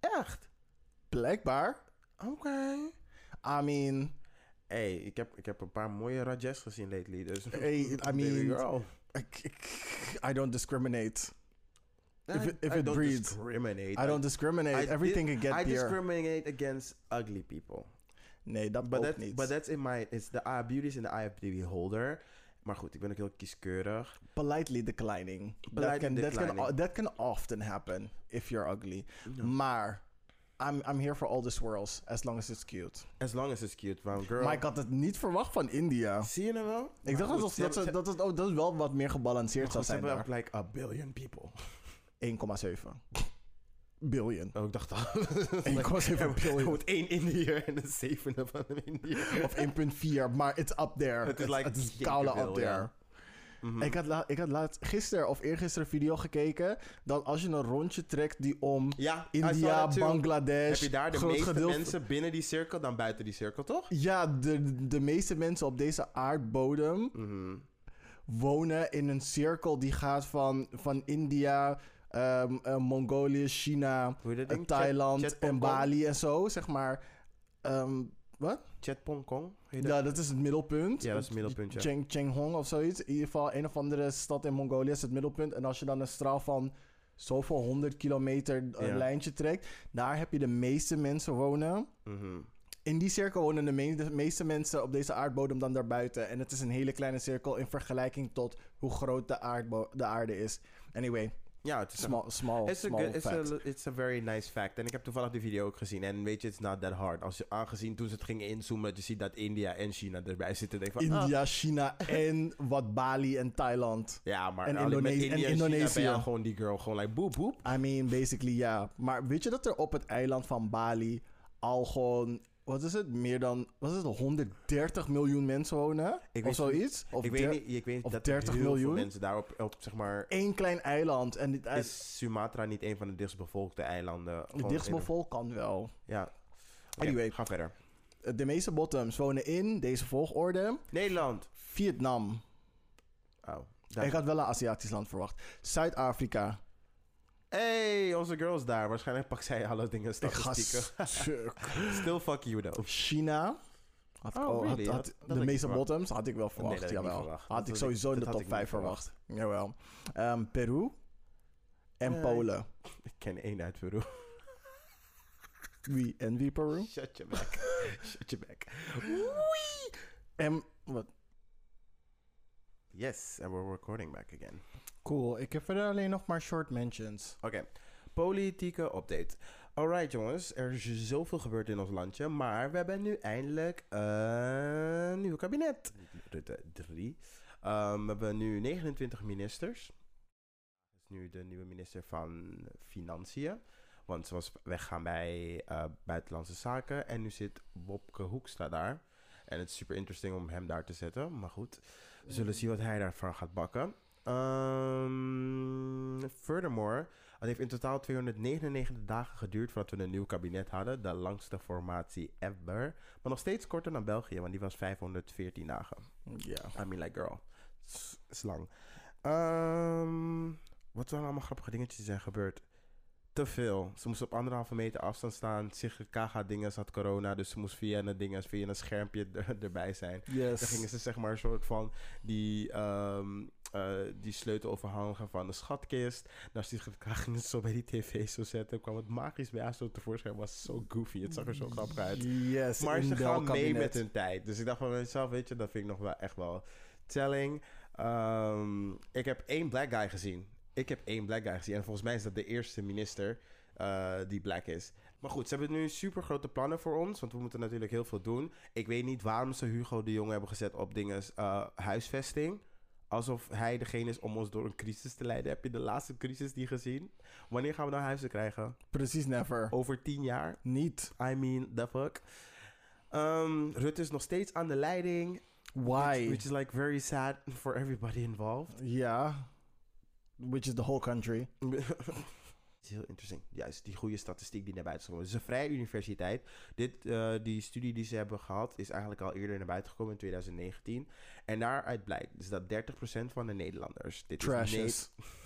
A: echt.
B: Blijkbaar.
A: Oké.
B: I mean,
A: Hey, ik heb, ik heb een paar mooie rajas gezien lately, dus...
B: Hey, I
A: Baby
B: mean,
A: girl.
B: ik- ik- I don't discriminate. if it- if
A: I
B: it
A: don't
B: breeds.
A: discriminate.
B: I don't discriminate.
A: I
B: Everything
A: di-
B: can get
A: I
B: here.
A: discriminate against ugly people.
B: Nee, dat
A: But,
B: ook
A: that,
B: niet.
A: but that's in my... It's the uh, beauty is in the eye of the beholder. Maar goed, ik ben ook heel kieskeurig.
B: politely declining. that
A: Politely
B: can, That can,
A: declining.
B: that can often happen if you're ugly. Maar, I'm, I'm here for all the swirls, as long as it's cute.
A: As long as it's cute, man, girl.
B: Maar ik had het niet verwacht van India.
A: Zie je nou wel?
B: Ik dacht
A: Maar goed,
B: dat,
A: ze
B: dat,
A: hebben-
B: dat, dat, het ook- dat het wel wat meer gebalanceerd
A: Goed,
B: zou
A: ze
B: zijn.
A: hebben
B: daar.
A: ook like a billion people.
B: 1,7. billion.
A: Oh, ik dacht al.
B: Ik was even
A: Er
B: billion.
A: moet één Indiër en een zevende van een Indiër.
B: Of 1.4, maar it's up there.
A: Het is
B: It's-
A: like
B: het is
A: zeker
B: koude
A: wel,
B: up there.
A: ja. Mhm.
B: Ik, had la- ik had laatst gisteren of eergisteren een video gekeken. Dan als je een rondje trekt die om
A: ja, I saw
B: India,
A: that too. Heb
B: Bangladesh,
A: je daar de
B: groot
A: meeste
B: gedeelte-
A: mensen binnen die cirkel dan buiten die cirkel, toch?
B: Ja, de, de meeste mensen op deze aardbodem
A: Mhm.
B: wonen in een cirkel die gaat van, van India, ehm, eh, Mongolië, China,
A: Hoe je dat
B: eh,
A: ding?
B: Thailand
A: Chat-
B: en
A: Chatpong Kong?
B: Bali en zo, zeg maar. Ehm, Wat?
A: Chatpong Kong? Hoe heet dat?
B: Ja, dat is het middelpunt.
A: Ja, dat is het middelpunt, ja.
B: Cheng, Chenghong of zoiets. In ieder geval, een of andere stad in Mongolië is het middelpunt. En als je dan een straal van zoveel honderd kilometer een
A: Ja.
B: lijntje trekt, daar heb je de meeste mensen wonen.
A: Mhm.
B: In die cirkel wonen de, me- de meeste mensen op deze aardbodem dan daarbuiten. En het is een hele kleine cirkel in vergelijking tot hoe groot de, aardbo- de aarde is. Anyway,
A: Ja, het is een
B: small, small,
A: It's a,
B: small
A: good, it's,
B: fact.
A: a, it's a very nice fact. En ik heb toevallig die video ook gezien. En weet je, it's not that hard. Als je, aangezien toen ze het gingen inzoomen, dat je ziet dat India en China erbij zitten. Denk ik van, ah,
B: India, China en wat Bali en Thailand.
A: ja, maar
B: en
A: alleen met
B: Indonesië- en
A: India en Indonesië.
B: Indonesië.
A: China ben je gewoon die girl. Gewoon like, boep, boep.
B: I mean, basically ja. Maar weet je dat er op het eiland van Bali al gewoon, wat is het, meer dan, wat is het, 130 miljoen mensen wonen?
A: Ik
B: of
A: weet-
B: zoiets? Of
A: ik
B: der-
A: weet niet, ik weet
B: of
A: dat
B: 30
A: heel
B: miljoen?
A: veel mensen daarop, op, zeg maar...
B: Eén klein eiland. En dit eiland,
A: Is Sumatra niet een van de dichtstbevolkte eilanden?
B: het
A: Gewoon
B: dichtstbevolk kan wel.
A: in- Ja. Oké,
B: Anyway.
A: ga verder.
B: De meeste bottoms wonen in deze volgorde.
A: Nederland.
B: Vietnam.
A: Oh. daar-
B: Ik had wel een Aziatisch land verwacht. Zuid-Afrika.
A: Hey, onze girls daar. Waarschijnlijk pakt zij alle dingen
B: Ik ga
A: statistieken.
B: stuk.
A: Still fuck you though.
B: China. Had ik
A: Oh,
B: al- had-
A: really?
B: had-
A: Dat- dat had
B: de
A: ik niet
B: meeste
A: verwacht.
B: bottoms had ik wel verwacht.
A: dat had ik niet
B: jawel.
A: verwacht. Dat
B: Had ik
A: had
B: sowieso
A: ik-
B: in de
A: dat had
B: top
A: ik niet
B: 5 verwacht.
A: verwacht.
B: Jawel. Ehm, Peru. En
A: Nee.
B: Polen.
A: Ik ken één uit Peru.
B: Wie en wie Peru?
A: Shut your back. Shut your back.
B: En wat?
A: Yes, and we're recording back again.
B: Cool. Ik heb verder alleen nog maar short mentions.
A: Oké, politieke update. Alright jongens, er is zoveel gebeurd in ons landje, maar we hebben nu eindelijk een nieuw kabinet. Rutte 3. Ehm, we hebben nu 29 ministers. Dat is nu de nieuwe minister van Financiën. Want ze was weggaan bij eh, Buitenlandse Zaken. En nu zit Bobke Hoekstra daar. En het is super interesting om hem daar te zetten. Maar goed, we zullen zien wat hij daarvan gaat bakken. Ehm, furthermore, het heeft in totaal 299 dagen geduurd voordat we een nieuw kabinet hadden. De langste formatie ever. Maar nog steeds korter dan België, want die was 514 dagen.
B: Ja.
A: I mean, like, girl. Is- Is lang. Ehm, wat zijn allemaal grappige dingetjes die zijn gebeurd? Te veel. Ze moest op anderhalve meter afstand staan. Sigrid Kaga dinges had corona, dus ze moest via een dinges, via een schermpje er- erbij zijn. Dan gingen
B: Yes.
A: ze zeg maar een soort van die, ehm, eh, die sleutel overhangen van de schatkist. Daar Sigrid Kaga ging ze zo bij die tv zo zetten. kwam het magisch bij haar zo tevoorschijn. was zo goofy. Het zag er zo grappig uit.
B: Yes.
A: Maar ze
B: in
A: gaan
B: welk
A: mee
B: kabinet.
A: met hun tijd. Dus ik dacht van mezelf, weet je, dat vind ik nog wel echt wel telling. Ehm, ik heb één black guy gezien. Ik heb één black guy gezien. En volgens mij is dat de eerste minister eh, die black is. Maar goed, ze hebben nu super grote plannen voor ons. Want we moeten natuurlijk heel veel doen. Ik weet niet waarom ze Hugo de Jong hebben gezet op dingen eh, huisvesting. Alsof hij degene is om ons door een crisis te leiden. Heb je de laatste crisis die gezien? Wanneer gaan we nou huizen krijgen?
B: Precies never.
A: Over tien jaar?
B: Niet.
A: I mean, the fuck. Ehm, Rutte is nog steeds aan de leiding.
B: Why?
A: Which is like very sad for everybody involved.
B: Ja. Which is the whole country.
A: Het is heel interessant. Juist, die goede statistiek die naar buiten is gekomen. Het is een vrije universiteit. Dit, eh, die studie die ze hebben gehad is eigenlijk al eerder naar buiten gekomen in 2019. En daaruit blijkt dus dat 30% van de Nederlanders... Dit Is
B: Trashes.
A: ne-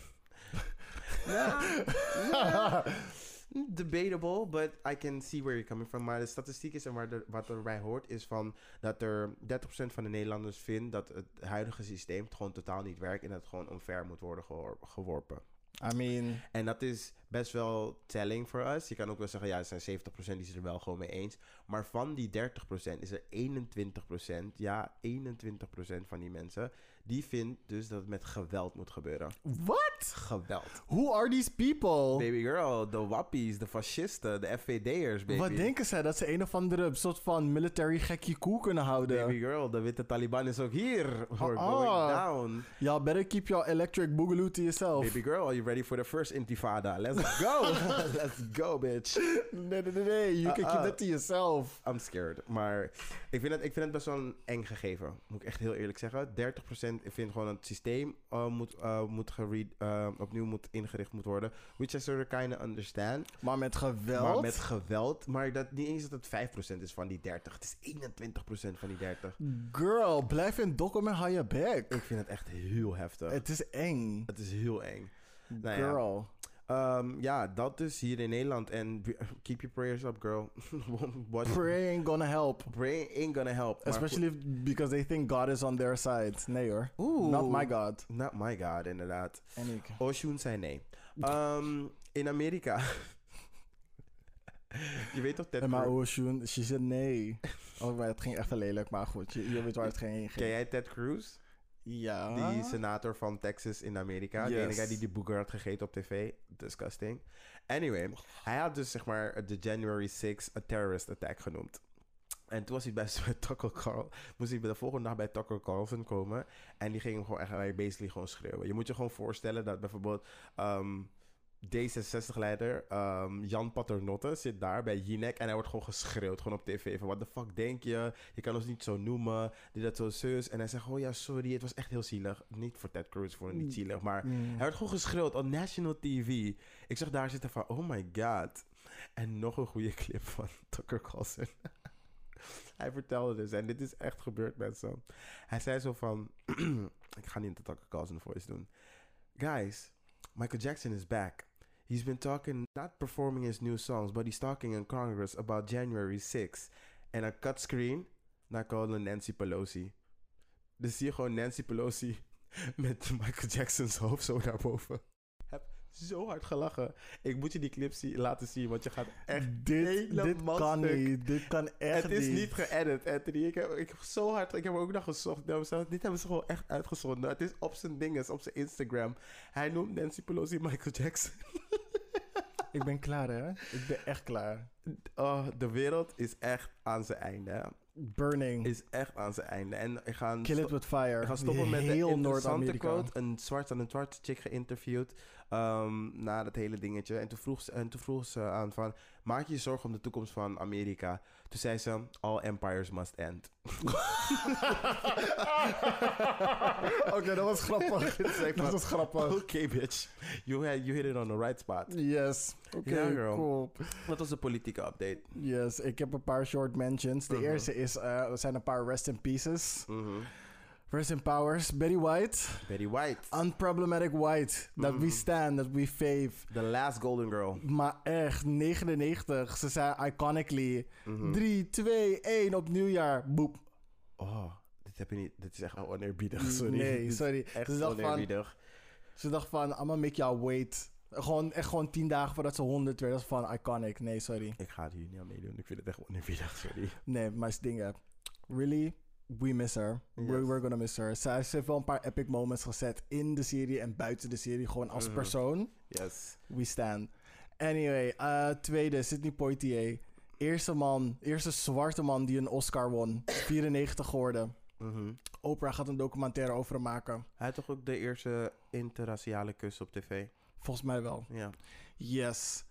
A: Nou, nou, debatable, but I can see where you're coming from. Maar de statistiek is en waar de- wat erbij hoort is van dat er 30% van de Nederlanders vindt dat het huidige systeem gewoon totaal niet werkt en dat het gewoon omver moet worden geworpen- geworpen.
B: I mean,
A: En dat is best wel telling voor us. Je kan ook wel zeggen, ja, er zijn 70% die zijn er wel gewoon mee eens. Maar van die 30% is er 21%, ja, 21% van die mensen die vindt dus dat het met geweld moet gebeuren.
B: What?
A: Geweld.
B: Who are these people?
A: Baby girl, de wappies, de fascisten, de FVD'ers, baby.
B: Wat denken zij? Dat ze een of andere soort van military gekkie koe kunnen houden.
A: Baby girl, de witte Taliban is ook hier. We're
B: Ah.
A: going down.
B: Y'all better keep your electric boogaloo to yourself.
A: Baby girl, are you ready for the first intifada? Let's go. Let's go, bitch.
B: Nee, nee, nee, nee. You can
A: Uh,
B: keep
A: uh.
B: that to yourself.
A: I'm scared. Maar ik vind het, ik vind het best wel een eng gegeven. Moet ik echt heel eerlijk zeggen. 30% ik vind gewoon dat het systeem eh, moet, eh, moet gere- eh, opnieuw moet ingericht moet worden. Which I sort of kinda understand.
B: Maar met geweld.
A: Maar met geweld. Maar dat niet eens dat het 5% is van die 30. Het is 21% van die 30.
B: Girl, blijf in Dokkum en hou je bek.
A: Ik vind het echt heel heftig.
B: Het
A: Het,
B: is eng.
A: is heel eng. Nou ja.
B: Girl.
A: Ehm, ja, dat dus hier in Nederland. En we- keep your prayers up, girl. What?
B: Pray ain't gonna help.
A: Pray ain't gonna help. Maar goed.
B: Especially if- because they think God is on their side. Nee hoor.
A: Oeh.
B: Not my God.
A: Not my god, Oh, inderdaad.
B: En ik.
A: Oshun zei nee. Ehm, in Amerika. je weet toch Ted
B: En maar
A: Cruz?
B: Ocean, she said nee. Oh, maar het ging echt wel lelijk, maar goed. Je, je weet waar het ging.
A: Ken jij Ted Cruz?
B: Ja.
A: Die senator van Texas in Amerika. De
B: Yes.
A: enige guy die die boeker had gegeten op tv. Disgusting. Anyway, hij had dus zeg maar de January 6 een terrorist attack genoemd. En toen was hij bij, bij Tucker Carl. Moest hij de volgende dag bij Tucker Carlson komen. En die ging hem gewoon echt like, basically gewoon schreeuwen. Je moet je gewoon voorstellen dat bijvoorbeeld ehm, D66-leider ehm, Jan Paternotte zit daar bij Jinek. En hij wordt gewoon geschreeuwd gewoon op tv. Van wat de fuck denk je? Je kan ons niet zo noemen. Dit, dat, zo, zus. En hij zegt gewoon ja, sorry. Het was echt heel zielig. Niet voor Ted Cruz, voor niet zielig. Maar hij werd gewoon geschreeuwd op national TV. Ik zag daar zitten van oh my god. En nog een goede clip van Tucker Carlson. Hij vertelde dus, en dit is echt gebeurd, mensen. Hij zei zo van, ik ga niet de Tucker Carlson voice doen. Guys, Michael Jackson is back. He's been talking, not performing his new songs, but he's talking in Congress about January 6th. En een cut screen naar Colin Nancy Pelosi. Dus zie je gewoon Nancy Pelosi met Michael Jackson's hoofd zo naar boven. Heb zo hard gelachen. Ik moet je die clip zie- laten zien, want je gaat echt
B: dit, dit
A: helemaal
B: kan
A: stuk.
B: niet. Dit kan echt
A: Het is
B: niet.
A: niet geëdit, Anthony. Ik heb, ik heb zo hard, ik heb er ook naar gezocht. naar mezelf. Dit hebben ze gewoon echt uitgezonden. Het is op zijn dinges, op zijn Instagram. Hij noemt Nancy Pelosi Michael Jackson.
B: Ik ben klaar, hè? Ik ben echt klaar.
A: Oh, de wereld is echt aan zijn einde. hè.
B: Burning.
A: Is echt aan zijn einde. En ik ga,
B: Kill it with fire.
A: ik ga stoppen met
B: Heel
A: een interessante
B: Noord-Amerika.
A: quote. Een zwarte en een zwarte chick geïnterviewd. ehm, na dat hele dingetje. En toen, vroeg ze, en toen vroeg ze aan van... Maak je je zorgen om de toekomst van Amerika? Toen zei ze... All empires must end.
B: Oké, dat was grappig.
A: Dit is echt
B: dat was grappig.
A: Oké, bitch. You, had- you hit it on the right spot.
B: Yes. Oké,
A: Ja, girl.
B: cool.
A: Dat was de politieke update.
B: Yes, ik heb een paar short mentions. De eerste is, eh, er zijn een paar rest in pieces. Rest in powers. Betty White.
A: Betty White,
B: Unproblematic White. Dat we stand, dat we fave.
A: the last golden girl.
B: Maar echt, 99. Ze zei iconically. 3, 2, 1 op nieuwjaar. Boep.
A: Oh, dit heb je niet. Dit is echt oneerbiedig, sorry. Dit
B: Nee,
A: is
B: sorry.
A: Echt
B: ze, dacht van,
A: oneerbiedig.
B: ze dacht van, I'm gonna make y'all wait. Gewoon, echt gewoon 10 dagen voordat ze 100 werd. Dat is van iconic. Nee, sorry.
A: Ik ga het hier niet aan meedoen. Ik vind het echt oneerbiedig, sorry.
B: Nee, maar dingen. Really? We miss her. We,
A: Yes.
B: we're gonna miss her. Zij ze heeft wel een paar epic moments gezet in de serie en buiten de serie. Gewoon
A: Mhm.
B: als persoon.
A: Yes.
B: We stand. Anyway, eh, tweede, Sidney Poitier. Eerste man, eerste zwarte man die een Oscar won. 94 geworden.
A: Mhm.
B: Oprah gaat een documentaire over hem maken.
A: Hij had toch ook de eerste interraciale kus op tv?
B: Volgens mij wel.
A: Ja.
B: Yes.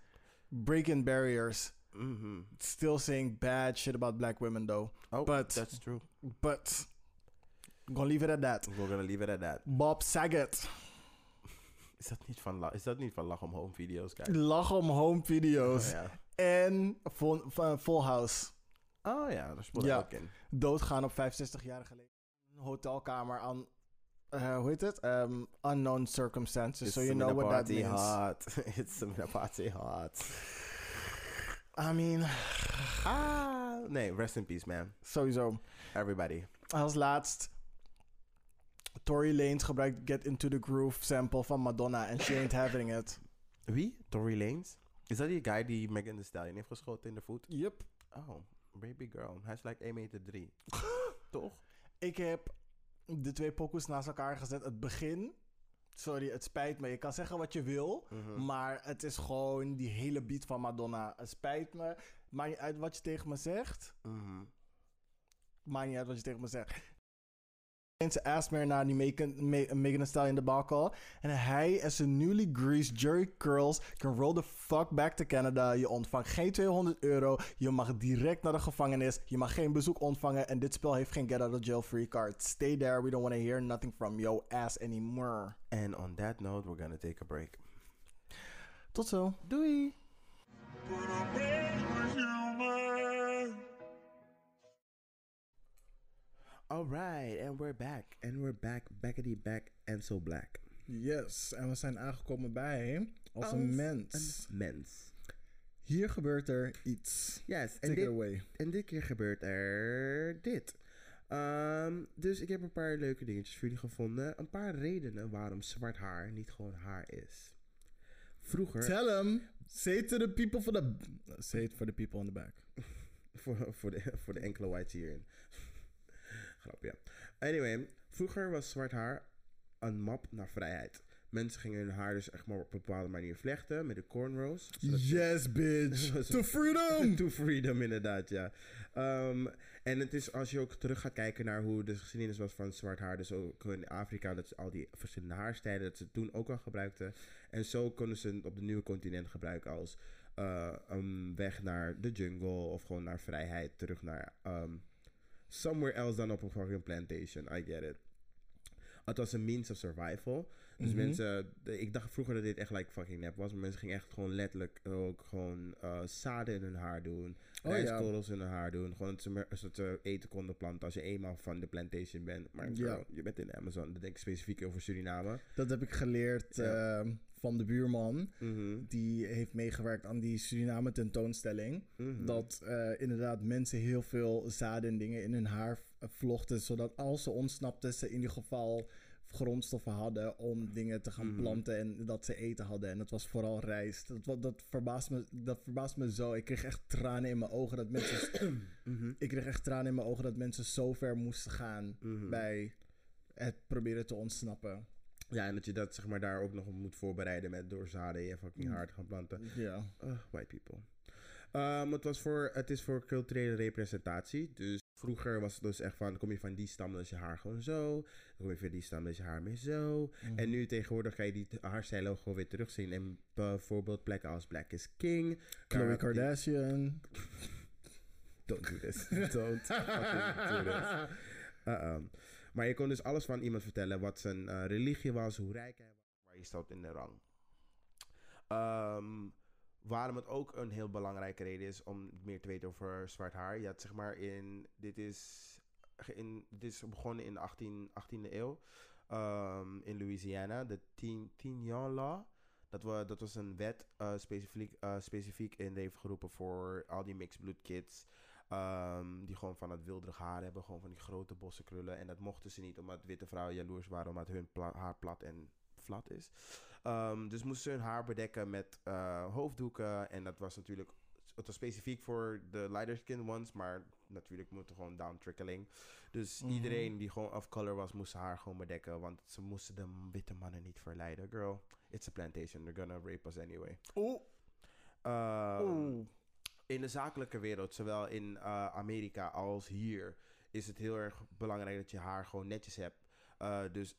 B: Breaking barriers. Mm-hmm.
A: Mhm.
B: Still saying bad shit about black women though.
A: Oh,
B: But-
A: that's true.
B: But, gonna leave it at that.
A: We're gonna leave it at that.
B: Bob Saget.
A: Is dat niet van, la is dat niet van lach om home video's kijken?
B: Lach om home video's.
A: Oh ja.
B: En Full, eh, Full House.
A: Oh ja, daar speelt hij
B: Ja.
A: ook in.
B: Doodgaan op 65-jarige leeftijd. Een hotelkamer aan... eh, hoe heet het? Ehm, unknown circumstances. so you know what that
A: party
B: means.
A: hot. It's a party hot.
B: I mean,
A: Ah, nee, rest in peace, man.
B: sowieso.
A: Everybody.
B: Als laatst... Tory Lanez gebruikt Get Into The Groove sample van Madonna. En she ain't having it.
A: Wie? Tory Lanez? Is dat die guy die Megan Thee Stallion heeft geschoten in de voet?
B: Yep.
A: Oh, baby girl. Hij is like 1 meter 3. Toch?
B: Ik heb de twee pokoes naast elkaar gezet. Het begin, sorry, het spijt me. Je kan zeggen wat je wil,
A: Mhm. Hm.
B: maar het is gewoon die hele beat van Madonna. Het spijt me. Maakt niet uit wat je tegen me zegt.
A: Mhm.
B: Maakt niet uit wat je tegen me zegt. Mensen asked meer naar die Megan, Ma- Megan Thee Stallion debacle. En hij en zijn newly greased jury curls can roll the fuck back to Canada. Je ontvangt geen 200 euro. Je mag direct naar de gevangenis. Je mag geen bezoek ontvangen. En dit spel heeft geen get out of jail free card. Stay there. We don't want to hear nothing from your ass anymore.
A: And on that note, we're gonna take a break.
B: Tot zo. Doei.
A: All right, and we're back. And we're back, backity back, and so black.
B: Yes, en we zijn aangekomen bij als, een mens.
A: Mens.
B: Hier gebeurt er iets.
A: Yes, en
B: Take it
A: dit,
B: away.
A: en dit keer gebeurt er dit. Ehm, dus ik heb een paar leuke dingetjes voor jullie gevonden. Een paar redenen waarom zwart haar niet gewoon haar is. Vroeger,
B: Tell him. Say it to the people for the. Say it for the people in the back.
A: voor, voor, de, voor de enkele whites hierin. Grapje. Anyway, vroeger was zwart haar een map naar vrijheid. Mensen gingen hun haar dus echt maar op een bepaalde manier vlechten met de cornrows. zodat ze-
B: Yes, bitch.
A: Zodat-
B: to freedom.
A: To freedom, inderdaad, ja. Ehm, en het is als je ook terug gaat kijken naar hoe de geschiedenis was van zwart haar. Dus ook in Afrika, dat ze al die verschillende haarstijlen, dat ze toen ook al gebruikten. En zo konden ze het op de nieuwe continent gebruiken als eh, een weg naar de jungle of gewoon naar vrijheid. Terug naar ehm, somewhere else dan op een fucking plantation. I get it. Het was een means of survival. Dus
B: Mhm.
A: mensen, de- ik dacht vroeger dat dit echt like fucking nep was, maar mensen gingen echt gewoon letterlijk ook gewoon eh, zaden in hun haar doen,
B: Oh,
A: rijstkorrels in hun haar doen, gewoon dat ze, meer- zodat ze eten konden planten als je eenmaal van de plantation bent. Maar girl,
B: Ja.
A: je bent in de Amazon, dat denk ik specifiek over Suriname.
B: Dat heb ik geleerd
A: Ja.
B: ehm, van de buurman.
A: Mhm,
B: Die heeft meegewerkt aan die Suriname tentoonstelling.
A: mhm.
B: Dat eh, inderdaad mensen heel veel zaden en dingen in hun haar v- eh, vlochten. Zodat als ze ontsnapten, ze in ieder geval grondstoffen hadden om dingen te gaan
A: Mhm.
B: planten en dat ze eten hadden. En dat was vooral rijst. Dat, wa- dat, verbaast me, dat verbaast me zo. Ik kreeg echt tranen in mijn ogen dat mensen...
A: Mhm,
B: ik kreeg echt tranen in mijn ogen dat mensen zo ver moesten gaan
A: mhm.
B: bij het proberen te ontsnappen.
A: Ja, en dat je dat zeg maar daar ook nog op moet voorbereiden met door zaden in je
B: Mm.
A: fucking haar te gaan planten.
B: Ja.
A: Ugh, Eh, white people. Ehm, het, was voor, het is voor culturele representatie. Dus vroeger was het dus echt van: kom je van die stam, dan is je haar gewoon zo. Dan kom je van die stam, dan is je haar meer zo.
B: Mhm.
A: En nu tegenwoordig kan je die t- haarstijlen ook gewoon weer terugzien. En bijvoorbeeld plekken als Black is King.
B: Khloe
A: Daar-
B: Kardashian.
A: Don't do this. Don't fucking do this. Uh-uh. Maar je kon dus alles van iemand vertellen. Wat zijn eh, religie was, hoe rijk hij was. Waar je stond in de rang. Ehm, waarom het ook een heel belangrijke reden is om meer te weten over zwart haar. Je had zeg maar in... Dit is, ge- in, dit is begonnen in de 18, 18e eeuw. ehm, in Louisiana. De Tignon Law. Dat, wa- dat was een wet eh, specifiek, eh, specifiek in de leven geroepen voor al die mixed blood kids. Ehm, die gewoon van het wilderig haar hebben, gewoon van die grote bosse krullen. En dat mochten ze niet, omdat witte vrouwen jaloers waren, omdat hun pla- haar plat en flat is. Ehm, dus moesten ze hun haar bedekken met eh, hoofddoeken. En dat was natuurlijk, het was specifiek voor de lighter skin ones, maar natuurlijk moeten gewoon down trickling. Dus
B: Mhm.
A: iedereen die gewoon of color was, moest haar gewoon bedekken, want ze moesten de witte mannen niet verleiden. Girl, it's a plantation, they're gonna rape us anyway.
B: Oeh.
A: Ehm,
B: Oeh.
A: in de zakelijke wereld, zowel in eh, Amerika als hier, is het heel erg belangrijk dat je haar gewoon netjes hebt. Eh, dus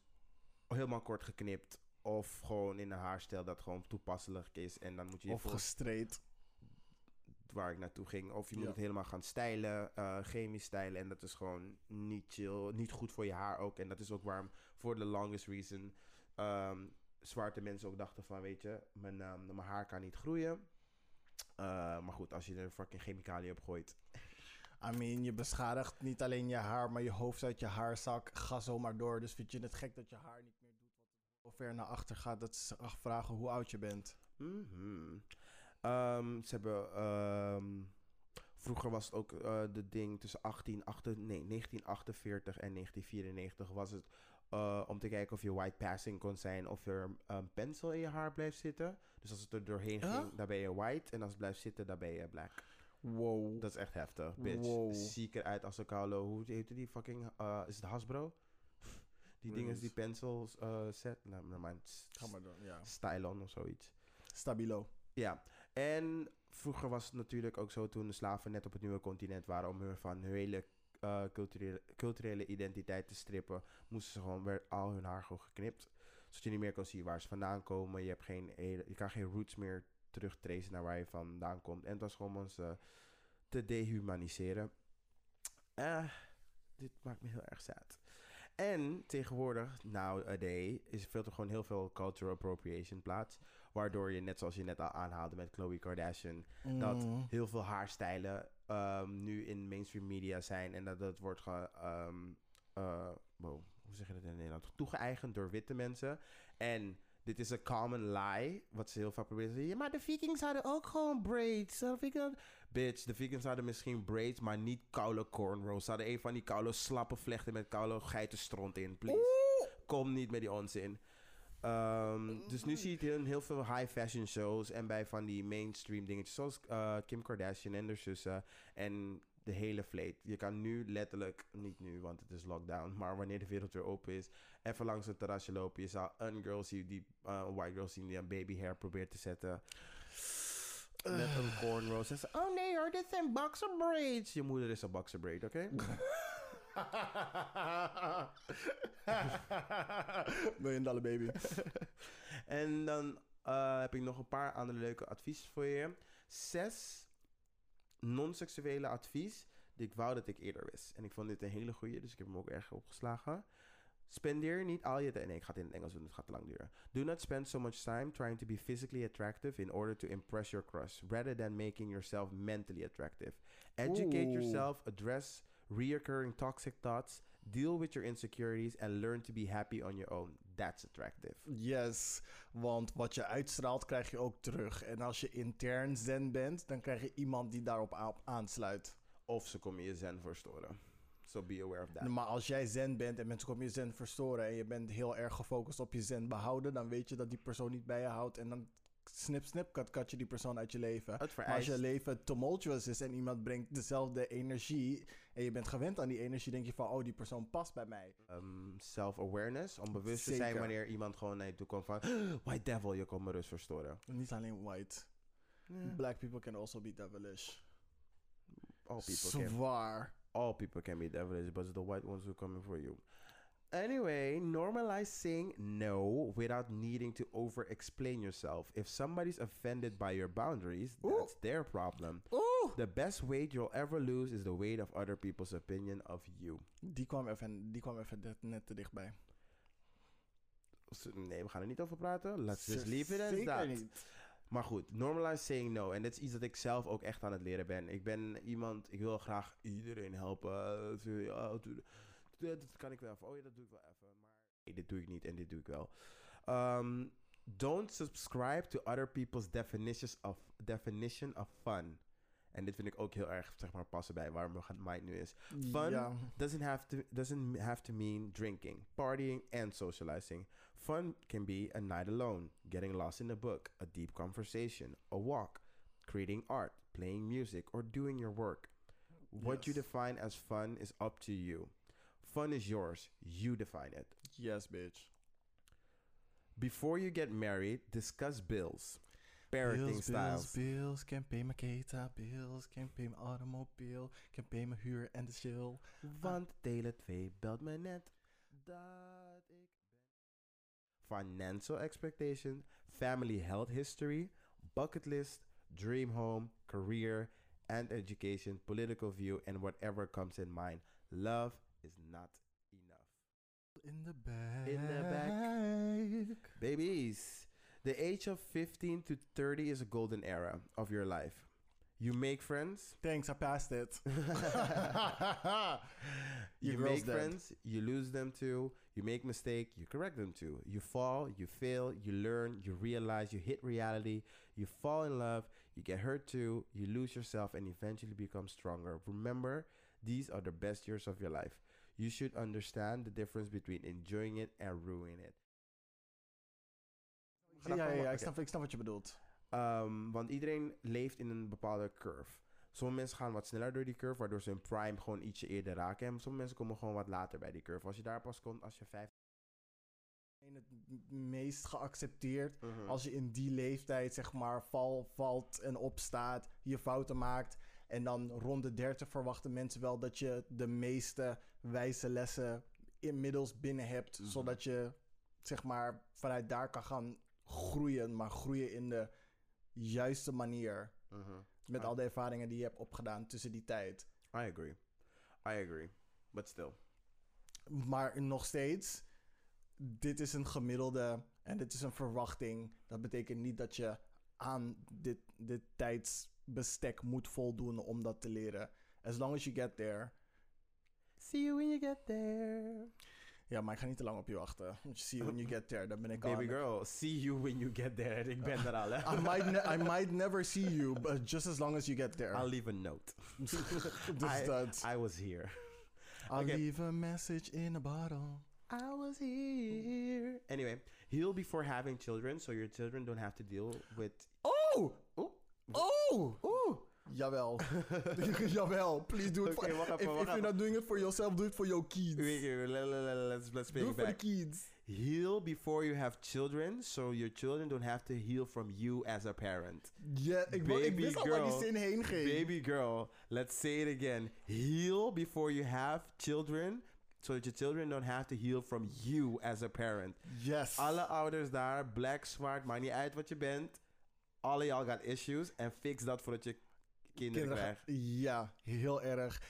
A: helemaal kort geknipt. Of gewoon in een haarstijl dat gewoon toepasselijk is. En dan moet je je
B: Of
A: voor-
B: gestreed.
A: waar ik naartoe ging. Of je moet
B: Ja.
A: het helemaal gaan stijlen, eh, chemisch stijlen. En dat is gewoon niet chill, niet goed voor je haar ook. En dat is ook waarom, voor the longest reason, ehm, zwarte mensen ook dachten van, weet je, mijn, eh, mijn haar kan niet groeien. Eh, maar goed, als je er fucking chemicaliën op gooit,
B: I mean, je beschadigt niet alleen je haar, maar je hoofd uit je haarzak. Ga zomaar door. Dus vind je het gek dat je haar niet meer doet wat ver naar achter gaat? Dat ze zich vragen hoe oud je bent.
A: Mhm. Ehm, ze hebben. ehm, vroeger was het ook eh, de ding tussen 18, nee, 1948 en 1994 was het. eh, om te kijken of je white passing kon zijn of er een pencil in je haar blijft zitten. Dus als het er doorheen
B: Huh?
A: ging, dan ben je white. En als het blijft zitten, dan ben je black.
B: Wow.
A: Dat is echt heftig, bitch. Dus
B: Wow.
A: Ziek eruit als een koude. Hoe heette die fucking... eh, is het Hasbro? Die dingen,
B: Release.
A: die pencils eh, set. Nou, never mind. S-
B: Ga maar door, ja.
A: Stylon of zoiets.
B: Stabilo.
A: Ja. En vroeger was het natuurlijk ook zo toen de slaven net op het nieuwe continent waren. Om hun van hun hele eh, culturele, culturele identiteit te strippen. Moesten ze gewoon weer al hun haar gewoon geknipt. Zodat je niet meer kon zien waar ze vandaan komen. Je, hebt geen, hele- je kan geen roots meer terugtracen naar waar je vandaan komt. En het was gewoon om ons eh, te dehumaniseren. Eh, dit maakt me heel erg sad. En tegenwoordig, nowadays, is veel te gewoon heel veel cultural appropriation plaats. Waardoor je, net zoals je net al aanhaalde met Khloe Kardashian, Dat-
B: Mm.
A: heel veel haarstijlen ehm, nu in mainstream media zijn. En dat, dat wordt ge, ehm, eh, wow, hoe zeg je dat in Nederland? Toegeëigend door witte mensen. En dit is een common lie, wat ze heel vaak proberen te zeggen. Ja, maar de vikings hadden ook gewoon braids. De Vikings- Bitch, de vikings hadden misschien braids, maar niet koude cornrows. Ze hadden een van die koude slappe vlechten met koude geitenstront in, please. Kom niet met die onzin. Ehm, dus nu zie je het in heel veel high fashion shows en bij van die mainstream dingetjes zoals eh, Kim Kardashian en haar zussen en de hele vleet. Je kan nu letterlijk, niet nu want het is lockdown, maar wanneer de wereld weer open is, even langs het terrasje lopen. Je zou een girl zien die, eh, een white girl zien die een baby hair probeert te zetten met een cornrows. En ze, oh nee hoor, dit zijn boxer braids. Je moeder is een boxer braid, oké?
B: Miljoen dollar baby.
A: En dan eh, heb ik nog een paar andere leuke advies voor je. Zes non-seksuele advies die ik wou dat ik eerder wist. En ik vond dit een hele goeie, dus ik heb hem ook erg opgeslagen. Spendeer niet al je tijd... Nee, ik ga het in het Engels doen, het gaat te lang duren. Do not spend so much time trying to be physically attractive in order to impress your crush, rather than making yourself mentally attractive. Educate
B: Oeh.
A: yourself, address reoccurring toxic thoughts, deal with your insecurities and learn to be happy on your own. That's attractive.
B: Yes, want wat je uitstraalt krijg je ook terug. En als je intern zen bent, dan krijg je iemand die daarop a- aansluit.
A: Of ze komen je zen verstoren. So be aware of that.
B: Maar als jij zen bent en mensen komen je zen verstoren... en je bent heel erg gefocust op je zen behouden... dan weet je dat die persoon niet bij je houdt... en dan snip, snip, kat, kat je die persoon uit je leven.
A: Het
B: Maar als
A: vereist.
B: je leven tumultuous is en iemand brengt dezelfde energie... en je bent gewend aan die energie, denk je van... oh, die persoon past bij mij.
A: ehm, self-awareness. Om bewust te zijn
B: Zeker.
A: wanneer iemand gewoon naar je toe komt van... White devil, je komt me rust verstoren.
B: Niet alleen white. Black people can also be devilish.
A: All people can.
B: Zwaar.
A: All people can be devilish, but it's the white ones who coming for you. Anyway, normalize saying no without needing to over-explain yourself. If somebody's offended by your boundaries,
B: Oeh.
A: that's their problem.
B: Oeh!
A: The best weight you'll ever lose is the weight of other people's opinion of you.
B: Die kwam even, die kwam even net- net te dichtbij.
A: Nee, we gaan er niet over praten. Let's just
B: Ze-
A: leave it as
B: Zeker
A: that.
B: niet.
A: Maar goed, normalize saying no. En dat is iets dat ik zelf ook echt aan het leren ben. Ik ben iemand, ik wil graag iedereen helpen. Eh, zo, ja, dat doe- Dat dat kan ik wel even. Oh ja, dat doe ik wel even. Maar nee, dit doe ik niet en dit doe ik wel. Ehm, don't subscribe to other people's definitions of, definition of fun. En dit vind ik ook heel erg, zeg maar, passen bij waar mijn mind nu is. Fun
B: Ja.
A: doesn't have to doesn't have to mean drinking, partying, and socializing. Fun can be a night alone, getting lost in a book, a deep conversation, a walk, creating art, playing music, or doing your work. What you
B: Yes.
A: define as fun is up to you. Fun is yours. You define it.
B: Yes, bitch.
A: Before you get married, discuss bills, parenting
B: bills,
A: styles.
B: Bills, bills, can pay my keta, bills, can pay my automobile, can pay my huur en de chill.
A: Want Tele 2 belt me net dat ik ben. Financial expectation, family health history, bucket list, dream home, career and education, political view and whatever comes in mind. Love is not enough.
B: In the back.
A: In the
B: back.
A: Babies, the age of 15 to 30 is a golden era of your life. You make friends.
B: Thanks, I passed it.
A: you
B: girl's
A: make
B: dead.
A: friends, you lose them too. You make mistake, you correct them too. You fall, you fail, you learn, you realize, you hit reality, you fall in love, you get hurt too, you lose yourself, and eventually become stronger. Remember, these are the best years of your life. You should understand the difference between enjoying it and ruining it.
B: Ja, ja, ja,
A: Oké.
B: ik snap, ik snap wat je bedoelt.
A: Ehm, want iedereen leeft in een bepaalde curve. Sommige mensen gaan wat sneller door die curve, waardoor ze hun prime gewoon ietsje eerder raken. En sommige mensen komen gewoon wat later bij die curve. Als je daar pas komt als je 50
B: in het m- meest geaccepteerd.
A: Mhm.
B: Als je in die leeftijd, zeg maar, val, valt en opstaat, je fouten maakt. En dan rond de 30 verwachten mensen wel dat je de meeste wijze lessen inmiddels binnen hebt.
A: Mhm.
B: Zodat je, zeg maar, vanuit daar kan gaan groeien. Maar groeien in de juiste manier.
A: Mhm.
B: Met
A: Ah.
B: al de ervaringen die je hebt opgedaan tussen die tijd.
A: I agree. I agree. But still.
B: Maar nog steeds, dit is een gemiddelde en dit is een verwachting. Dat betekent niet dat je aan dit, dit tijdsbestek moet voldoen om dat te leren. As long as you get there.
A: See you when you get there.
B: Ja, maar ik ga niet te lang op je wachten. Want See you when you get there, dan ben ik al
A: Baby
B: aan-
A: girl, see you when you get there. Ik ben er al, hè.
B: I might, ne- I might never see you, but just as long as you get
A: I'll
B: there.
A: leave a note.
B: dus
A: I-
B: dat.
A: I was here.
B: I'll
A: Oké.
B: leave a message in a bottle.
A: I was here. Anyway, heal before having children, so your children don't have to deal with.
B: Oh!
A: Oeh.
B: Oh! Jawel. Jawel. Please do it
A: Oké,
B: for...
A: wacht even,
B: if,
A: wacht
B: if you're
A: even.
B: not doing it for yourself, do it for your kids.
A: Wait, wait, let- let- let- Let's let's play
B: do
A: it
B: it for the
A: back.
B: kids.
A: Heal before you have children, so your children don't have to heal from you as a parent.
B: Ja, ik, wou- ik
A: Baby
B: wist al waar die
A: girl.
B: zin heen ging.
A: Baby girl, let's say it again. Heal before you have children, so that your children don't have to heal from you as a parent.
B: Yes.
A: Alle ouders daar, black, zwart, maakt niet uit wat je bent. Alle y'all got issues en fix dat voordat je kinderen
B: Kinderen-
A: krijgt.
B: Ja, heel erg.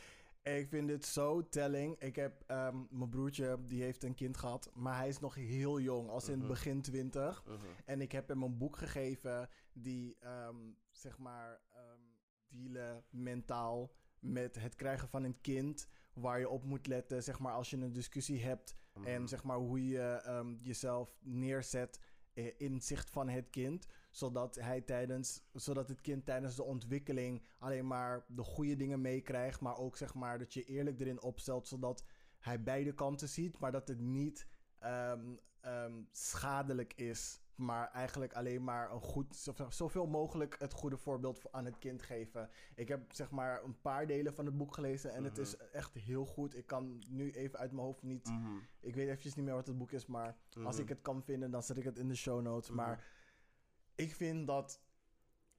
B: Ik vind dit zo telling. Ik heb ehm, mijn broertje, die heeft een kind gehad, maar hij is nog heel jong, als in begin twintig. En ik heb hem een boek gegeven die, ehm, zeg maar, ehm, dealen mentaal met het krijgen van een kind. Waar je op moet letten, zeg maar, als je een discussie hebt.
A: Mm-hmm.
B: En zeg maar, hoe je ehm, jezelf neerzet eh, in zicht van het kind. Zodat, hij tijdens, zodat het kind tijdens de ontwikkeling alleen maar de goede dingen meekrijgt. Maar ook, zeg maar, dat je eerlijk erin opstelt. Zodat hij beide kanten ziet, maar dat het niet ehm, ehm, schadelijk is. Maar eigenlijk alleen maar een goed, zove- zoveel mogelijk het goede voorbeeld voor- aan het kind geven. Ik heb zeg maar een paar delen van het boek gelezen en het is echt heel goed. Ik kan nu even uit mijn hoofd niet, ik weet eventjes niet meer wat het boek is, maar
A: Mm-hmm.
B: als
A: Mhm.
B: ik het kan vinden, dan zet ik het in de show notes. Maar ik vind dat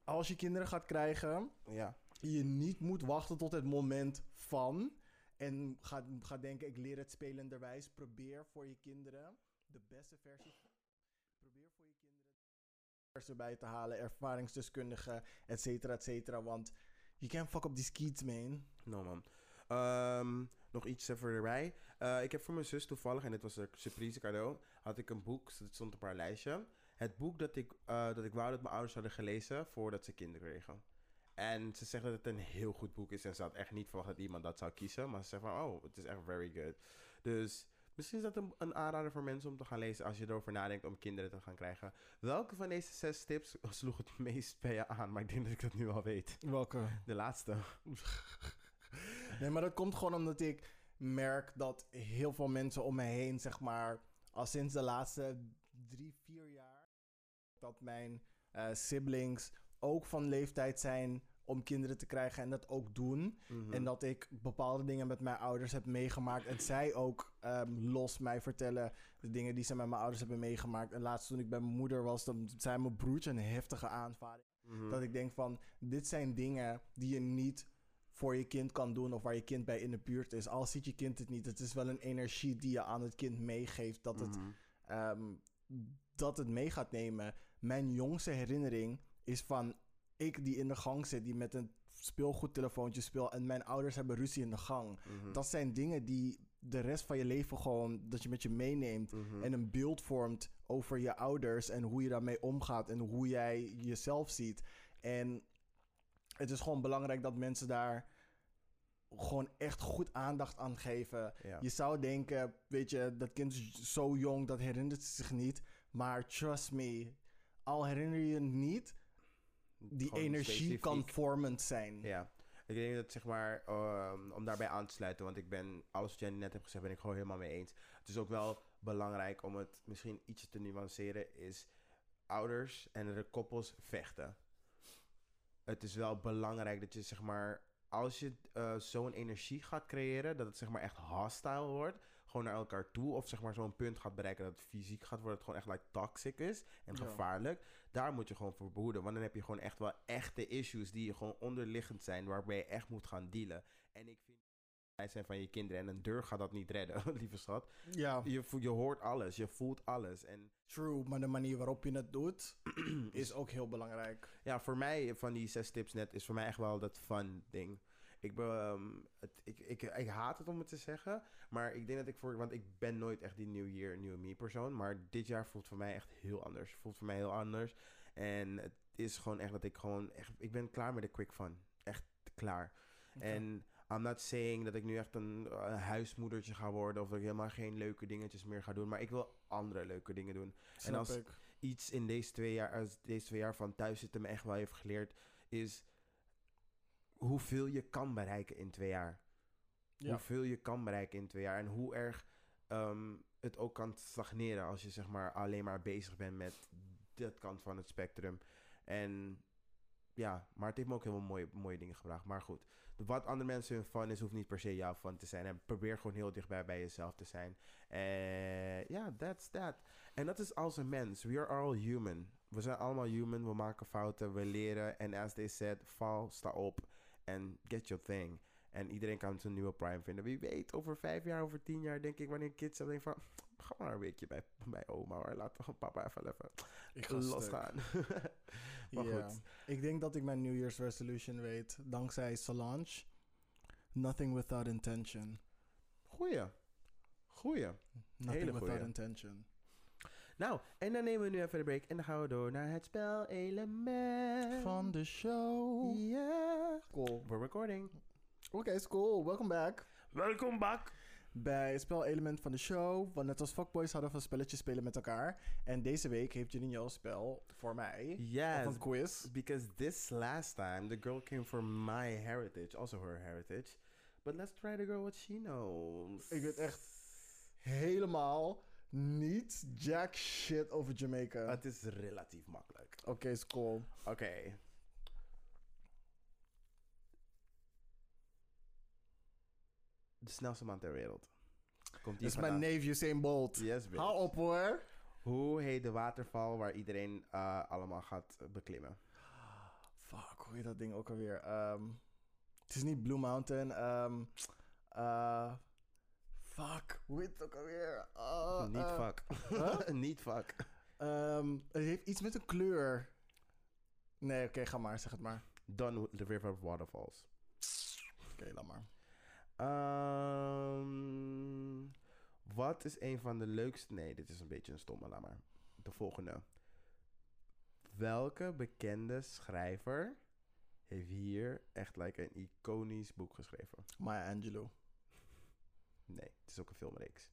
B: als je kinderen gaat krijgen,
A: Ja.
B: je niet moet wachten tot het moment van. En gaat, gaat denken, ik leer het spelenderwijs. Probeer voor je kinderen de beste versie. Probeer voor je kinderen de beste erbij te halen. Ervaringsdeskundigen, et cetera, et cetera. Want you can't fuck up these kids, man.
A: No man. Ehm, nog iets erbij. Eh ik heb voor mijn zus toevallig, en dit was een surprise cadeau, had ik een boek. dus Het stond op haar lijstje. Het boek dat ik, eh, dat ik wou dat mijn ouders hadden gelezen voordat ze kinderen kregen. En ze zegt dat het een heel goed boek is. En ze had echt niet verwacht dat iemand dat zou kiezen. Maar ze zegt van, oh, het is echt very good. Dus misschien is dat een, een aanrader voor mensen om te gaan lezen als je erover nadenkt om kinderen te gaan krijgen. Welke van deze zes tips sloeg het meest bij je aan? Maar ik denk dat ik dat nu al weet.
B: Welke?
A: De laatste.
B: Nee, maar dat komt gewoon omdat ik merk dat heel veel mensen om me heen, zeg maar, al sinds de laatste drie, vier jaar, dat mijn eh, siblings ook van leeftijd zijn om kinderen te krijgen en dat ook doen.
A: Mhm.
B: En dat ik bepaalde dingen met mijn ouders heb meegemaakt. En zij ook ehm, los mij vertellen de dingen die ze met mijn ouders hebben meegemaakt. En laatst toen ik bij mijn moeder was, dan zei mijn broertje een heftige aanvaring.
A: Mhm.
B: Dat ik denk van, dit zijn dingen die je niet voor je kind kan doen of waar je kind bij in de buurt is. Al ziet je kind het niet, het is wel een energie die je aan het kind meegeeft dat het,
A: Mhm.
B: ehm, dat het mee gaat nemen. Mijn jongste herinnering is van ik die in de gang zit, die met een speelgoedtelefoontje speelt en mijn ouders hebben ruzie in de gang.
A: Mhm.
B: Dat zijn dingen die de rest van je leven gewoon, dat je met je meeneemt
A: Mhm.
B: en een beeld vormt over je ouders en hoe je daarmee omgaat en hoe jij jezelf ziet. En het is gewoon belangrijk dat mensen daar gewoon echt goed aandacht aan geven.
A: ja.
B: Je zou denken, weet je, dat kind is zo jong, dat herinnert ze zich niet. Maar trust me, al herinner je het niet, die
A: Gewoon
B: energie
A: specifiek.
B: kan vormend zijn.
A: Ja. Ik denk dat, zeg maar, ehm, om daarbij aan te sluiten, want ik ben, alles wat jij net hebt gezegd, ben ik gewoon helemaal mee eens. Het is ook wel belangrijk om het misschien ietsje te nuanceren, is ouders en de koppels vechten. Het is wel belangrijk dat je, zeg maar, als je eh, zo'n energie gaat creëren, dat het, zeg maar, echt hostile wordt, gewoon naar elkaar toe. Of zeg maar zo'n punt gaat bereiken dat het fysiek gaat worden. Dat het gewoon echt like toxic is en
B: Ja.
A: gevaarlijk. Daar moet je gewoon voor behoeden. Want dan heb je gewoon echt wel echte issues die gewoon onderliggend zijn. Waarbij je echt moet gaan dealen. En ik vind het zijn van je kinderen. En een deur gaat dat niet redden, lieve schat.
B: Ja,
A: Je, voelt- je hoort alles, je voelt alles. En
B: true. Maar de manier waarop je het doet is ook heel belangrijk.
A: Ja, voor mij van die zes tips net is voor mij echt wel dat fun ding. Ik, ben, ehm, het, ik, ik, ik haat het om het te zeggen, maar ik denk dat ik voor... Want ik ben nooit echt die New Year, New Me persoon, maar dit jaar voelt voor mij echt heel anders. Voelt voor mij heel anders. En het is gewoon echt dat ik gewoon echt... Ik ben klaar met de quick fun. Echt klaar. En I'm not saying dat ik nu echt een, een huismoedertje ga worden of dat ik helemaal geen leuke dingetjes meer ga doen, maar ik wil andere leuke dingen doen
B: Snap
A: als-
B: ik.
A: iets in deze twee jaar, als deze twee jaar van thuis zitten me echt wel heeft geleerd, is hoeveel je kan bereiken in twee jaar.
B: Ja.
A: Hoeveel je kan bereiken in twee jaar en hoe erg ehm, het ook kan stagneren als je zeg maar alleen maar bezig bent met dat kant van het spectrum. En ja, maar het heeft me ook heel veel mooie, mooie dingen gebracht. Maar goed, de- wat andere mensen hun fun is, hoeft niet per se jouw fun te zijn. En probeer gewoon heel dichtbij bij jezelf te zijn. Eh, ja, that's that. En dat is als een mens. We are all human. We zijn allemaal human. We maken fouten. We leren. En as they said, val, sta op. En get your thing. En iedereen kan zijn nieuwe prime vinden. Wie weet, over vijf jaar, over tien jaar, denk ik, wanneer kids dan denken van... Ga maar een weekje bij, bij oma, hoor. Laat gewoon papa even even
B: Ik ga stuk.
A: losgaan. maar
B: Ja.
A: goed.
B: Ik denk dat ik mijn New Year's resolution weet dankzij Solange. Nothing without intention.
A: Goeie. Goeie.
B: Nothing
A: Hele
B: without
A: goeie.
B: intention.
A: Nou, en dan nemen we nu even de break. En dan gaan we door naar het spelelement.
B: Van de show.
A: Ja.
B: Cool.
A: We're recording.
B: Oké, is cool. Welcome back.
A: Welkom back.
B: Bij spelelement van de show. Want net als fuckboys hadden we een spelletje spelen met elkaar. En deze week heeft jullie jouw spel voor mij.
A: Yes.
B: Of een quiz.
A: Because this last time, the girl came from my heritage, also her heritage. But let's try to girl what she knows.
B: Ik weet echt helemaal niet jack shit over Jamaica.
A: Het is relatief makkelijk.
B: Oké, is cool.
A: Oké. De snelste man ter wereld. Komt
B: Dit
A: hier
B: is mijn
A: vandaan.
B: neef Usain Bolt.
A: Yes, bitch.
B: Hou op hoor.
A: Hoe heet de waterval waar iedereen eh, allemaal gaat beklimmen?
B: Fuck, hoe heet dat ding ook alweer? Ehm, het is niet Blue Mountain. ehm, eh, fuck, hoe heet het ook alweer? Ah,
A: Niet
B: eh,
A: fuck. Niet fuck.
B: ehm, het heeft iets met een kleur. Nee, oké, ga maar, zeg het maar.
A: Done with the river waterfalls.
B: Oké, laat maar.
A: Ehm, wat is een van de leukste... Nee, dit is een beetje een stomme, laat maar. De volgende. Welke bekende schrijver heeft hier echt like een iconisch boek geschreven?
B: Maya Angelou.
A: Nee, het is ook een filmreeks.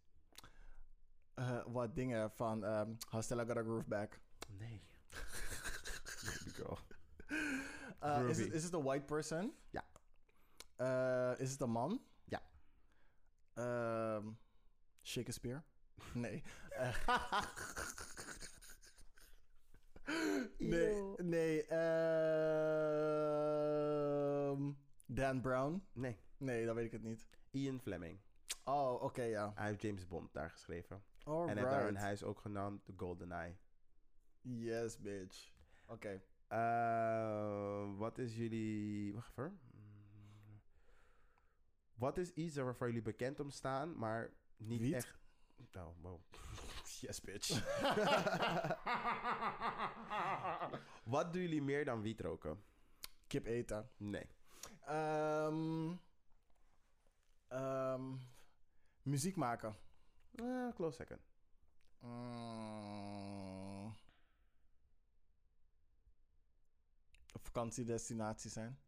B: Eh, wat dingen van ehm How Still I Got A Groove Back.
A: Nee. Baby girl.
B: Eh, is,
A: Groovy.
B: het, is het een white person?
A: Ja.
B: Eh, is het een man?
A: Ja.
B: Ehm, Shakespeare? Nee. Eh. nee,
A: Eeuw.
B: nee. ehm, Dan Brown?
A: Nee,
B: Nee, dan weet ik het niet.
A: Ian Fleming.
B: Oh, oké, ja.
A: Hij heeft James Bond daar geschreven. En hij heeft daar een
B: Alright.
A: huis ook genaamd The Golden Eye.
B: Yes, bitch. Oké.
A: Eh, wat is jullie. Wacht even. Mm. Wat is iets waarvoor jullie bekend om staan, maar niet
B: Wiet?
A: echt. Oh, wow. yes, bitch. wat doen jullie meer dan wiet roken?
B: Kip eten.
A: Nee.
B: Ehm ehm, muziek maken.
A: Eh, close second.
B: Mm. Op vakantiedestinatie zijn?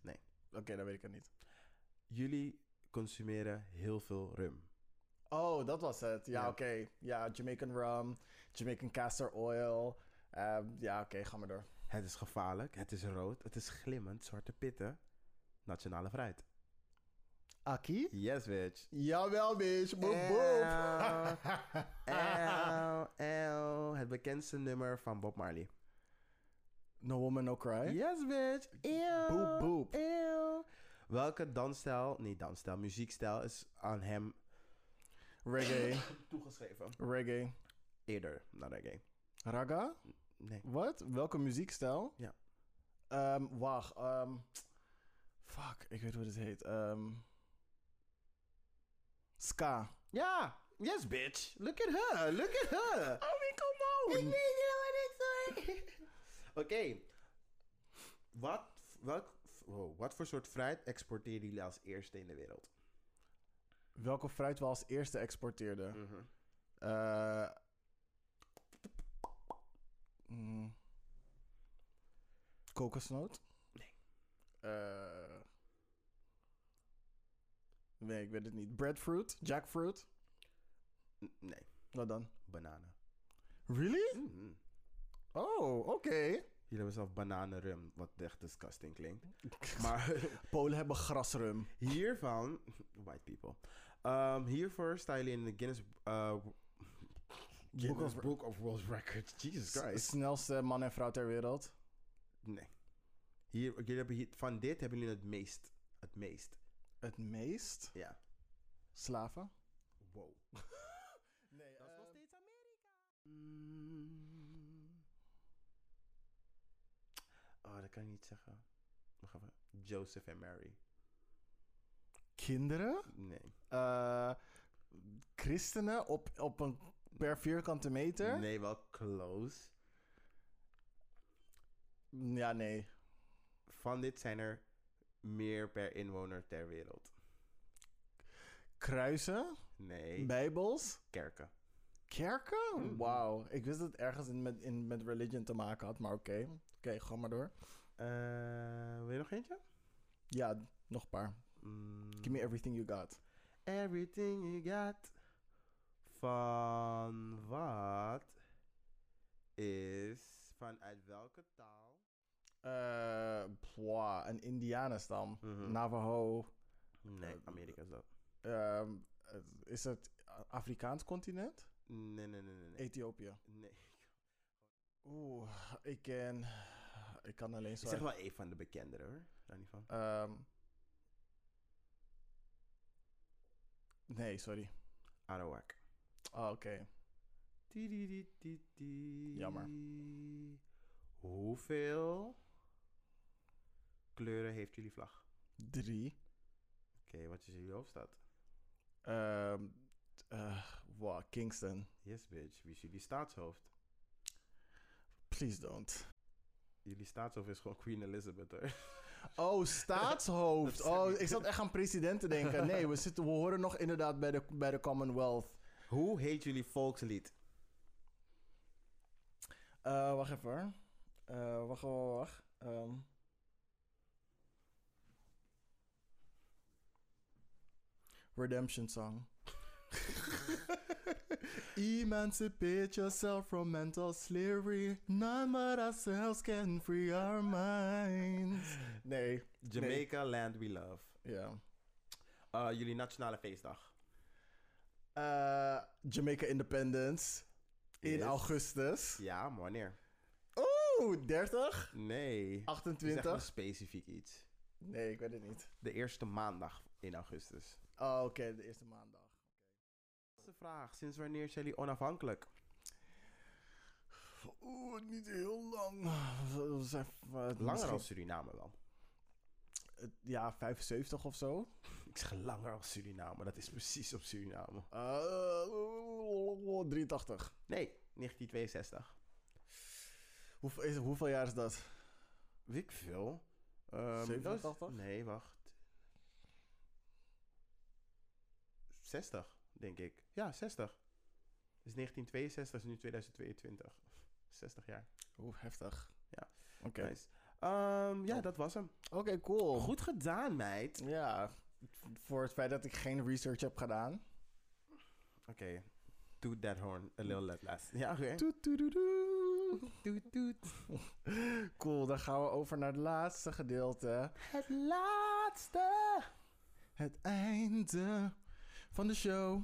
A: Nee.
B: Oké, dat weet ik het niet.
A: Jullie consumeren heel veel rum.
B: Oh, dat was het. Ja,
A: Ja.
B: oké. Ja, Jamaican rum, Jamaican castor oil. Ehm, ja, oké, ga maar door.
A: Het is gevaarlijk, het is rood, het is glimmend, zwarte pitten. Nationale fruit.
B: Aki?
A: Yes, bitch.
B: Jawel, bitch. Boop,
A: Eeuw.
B: boop.
A: Eeuw, eeuw. Het bekendste nummer van Bob Marley.
B: no woman, no cry.
A: Yes, bitch. Eeuw.
B: Boep, boep.
A: Eeuw. Welke dansstijl, niet dansstijl, muziekstijl is aan hem
B: Reggae.
A: toegeschreven.
B: Reggae.
A: Eerder dan reggae.
B: Raga?
A: Nee.
B: Wat? Welke muziekstijl?
A: Ja.
B: Ehm, wacht. ehm, fuck, ik weet hoe dit heet. Ehm, ska.
A: Ja! Yes, bitch! Look at her! Look at her!
B: Oh, come
A: Ik weet niet wat ik zei. Oké. Wat, welk, wow, wat voor soort fruit exporteren jullie als eerste in de wereld?
B: Welke fruit we als eerste exporteerden?
A: Mhm.
B: Eh, mm, kokosnoot?
A: Nee.
B: Eh, nee, ik weet het niet. Breadfruit? Jackfruit?
A: N- Nee,
B: Wat dan?
A: bananen.
B: Really?
A: Mhm.
B: Oh, oké.
A: Jullie hebben zelf bananenrum, wat echt disgusting klinkt. Maar
B: Polen hebben grasrum.
A: hiervan, white people, Ehm, hiervoor staan jullie in de Guinness, eh, Book,
B: Guinness
A: of,
B: Re-
A: Book of World Records. Jesus
B: S-
A: Christ.
B: Snelste man en vrouw ter wereld.
A: Nee. Hier, jullie hebben hier, van dit hebben jullie het meest. Het meest,
B: Het meest?
A: ja.
B: Slaven?
A: Wow.
B: Nee,
A: Dat is nog steeds Amerika. Mm. Oh, dat kan ik niet zeggen. Wacht even. Joseph en Mary.
B: Kinderen?
A: Nee.
B: Eh, christenen op, op een per vierkante meter?
A: Nee, wel close.
B: Ja, nee.
A: Van dit zijn er meer per inwoner ter wereld.
B: Kruisen?
A: Nee.
B: Bijbels?
A: Kerken.
B: Kerken?
A: Mhm.
B: Wauw. Ik wist dat het ergens in, met, in, met religion te maken had, maar oké. Oké, ga maar door.
A: Eh, wil je nog eentje?
B: Ja, nog een paar.
A: Mm.
B: Give me everything you got.
A: Everything you got. Van wat is vanuit welke taal?
B: Eh, pwa, een indianenstam.
A: Mhm.
B: Navajo.
A: Nee, Amerika is dat.
B: Ehm, het- is het Afrikaans continent?
A: Nee, nee, nee, nee. nee.
B: Ethiopië.
A: Nee.
B: Oeh, ik ken. Ik kan alleen
A: Ik
B: zo.
A: zeg wel een van de bekendere hoor. Daar niet van.
B: Ehm, nee, sorry.
A: Arawak.
B: Oh, Oké.
A: Ti, ti, ti, ti, ti.
B: Jammer.
A: Hoeveel kleuren heeft jullie vlag?
B: Drie.
A: Oké, wat is jullie hoofdstad?
B: Ehm eh, wow, Kingston.
A: Yes, bitch. Wie is jullie staatshoofd?
B: Please don't.
A: Jullie staatshoofd is gewoon Queen Elizabeth hoor.
B: Oh, staatshoofd.
A: Dat zei
B: Oh,
A: ik.
B: ik zat echt aan president te denken. Nee, we, zitten, we horen nog inderdaad bij de, bij de Commonwealth.
A: Hoe heet jullie volkslied?
B: Eh, wacht even hoor. Eh, wacht, wacht, wacht. Ehm. Redemption Song. Emancipate yourself from mental slavery. None but ourselves can free our minds. Nee,
A: Jamaica Land We Love.
B: ja.
A: Eh, jullie nationale feestdag.
B: Eh, Jamaica Independence in
A: Yes.
B: augustus.
A: Ja, maar wanneer?
B: Oeh, 30?
A: Nee. Zeg maar
B: 28?
A: specifiek iets.
B: Nee, ik weet het niet.
A: De eerste maandag in augustus.
B: Oh, oké, de eerste maandag.
A: Laatste vraag. Sinds wanneer zijn jullie onafhankelijk?
B: Oeh, niet heel lang. We we zijn, eh,
A: Langer
B: misschien-
A: als Suriname wel.
B: eh, Ja, 75 of zo.
A: Ik zeg langer als Suriname. Dat is precies op Suriname.
B: Eh, 83.
A: Nee, 1962.
B: Hoeveel, is, hoeveel jaar is dat?
A: Weet ik veel. Ehm,
B: 87?
A: dat is- nee, wacht. 60, denk ik. Ja, 60. Dus 1962 is nu 2022. 60 jaar.
B: Oeh, heftig.
A: Ja.
B: Oké,
A: Nice. Ehm, ja,
B: Oh.
A: dat was hem.
B: Oké, cool.
A: Goed gedaan, meid.
B: Ja, voor het feit dat ik geen research heb gedaan.
A: Oké. Toot that horn a little less. Ja, oké.
B: Toet, toet, toet, toet.
A: Toet, toet.
B: Cool, dan gaan we over naar het laatste gedeelte.
A: Het laatste.
B: Het einde van de show.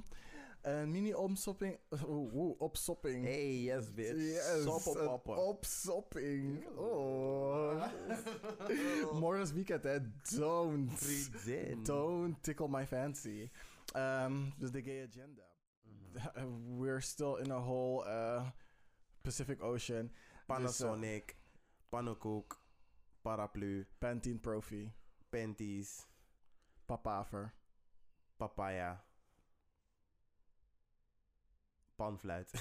B: Een mini-opsopping. Oeh, oeh, opsopping.
A: Hey, yes, bitch.
B: Yes,
A: Sop op
B: een
A: appen.
B: opsopping. Oh. Morgen is weekend, hè? Don't.
A: Vriendin.
B: Don't tickle my fancy. Ehm, dus de Um, gay agenda. we're still in a whole eh, Pacific Ocean.
A: Dus, eh, Panasonic, pannenkoek, paraplu,
B: Pantene Profi,
A: panties,
B: Papaver,
A: papaya, panfluit.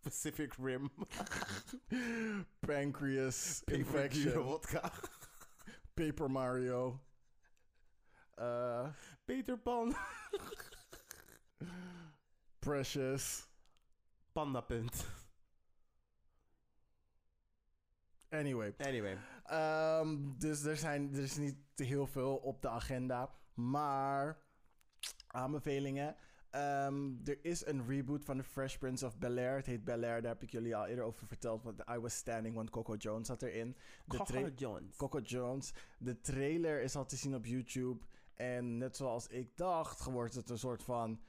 A: Pacific Rim,
B: Pancreas
A: Infectie
B: Infection,
A: vodka,
B: Paper Mario. eh,
A: Peter Pan,
B: Precious.
A: pandapunt.
B: Anyway,
A: Anyway,
B: Ehm, dus er, zijn, er is niet te heel veel op de agenda. Maar aanbevelingen. Ehm, er is een reboot van The Fresh Prince of Bel Air. Het heet Bel Air. Daar heb ik jullie al eerder over verteld. Want I was standing, want Coco Jones zat erin. De tra-
A: Coco Jones.
B: Coco Jones. De trailer is al te zien op YouTube. En net zoals ik dacht, wordt het een soort van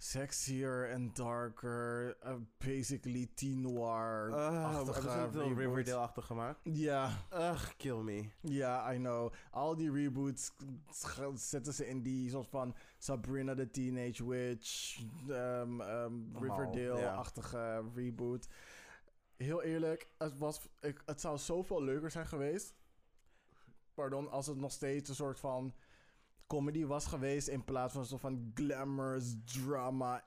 B: sexier en darker. eh, basically teen noir.
A: Ah, we
B: achtige
A: hebben zo'n
B: reboot.
A: Riverdale-achtig gemaakt.
B: Ja.
A: Ugh, kill me.
B: Ja, I know. Al die reboots sch- zetten ze in die soort van Sabrina the Teenage Witch, ehm, ehm, Riverdale-achtige reboot. Heel eerlijk, het, was, ik, het zou zoveel leuker zijn geweest. Pardon, als het nog steeds een soort van comedy was geweest. In plaats van een soort van glamorous, drama,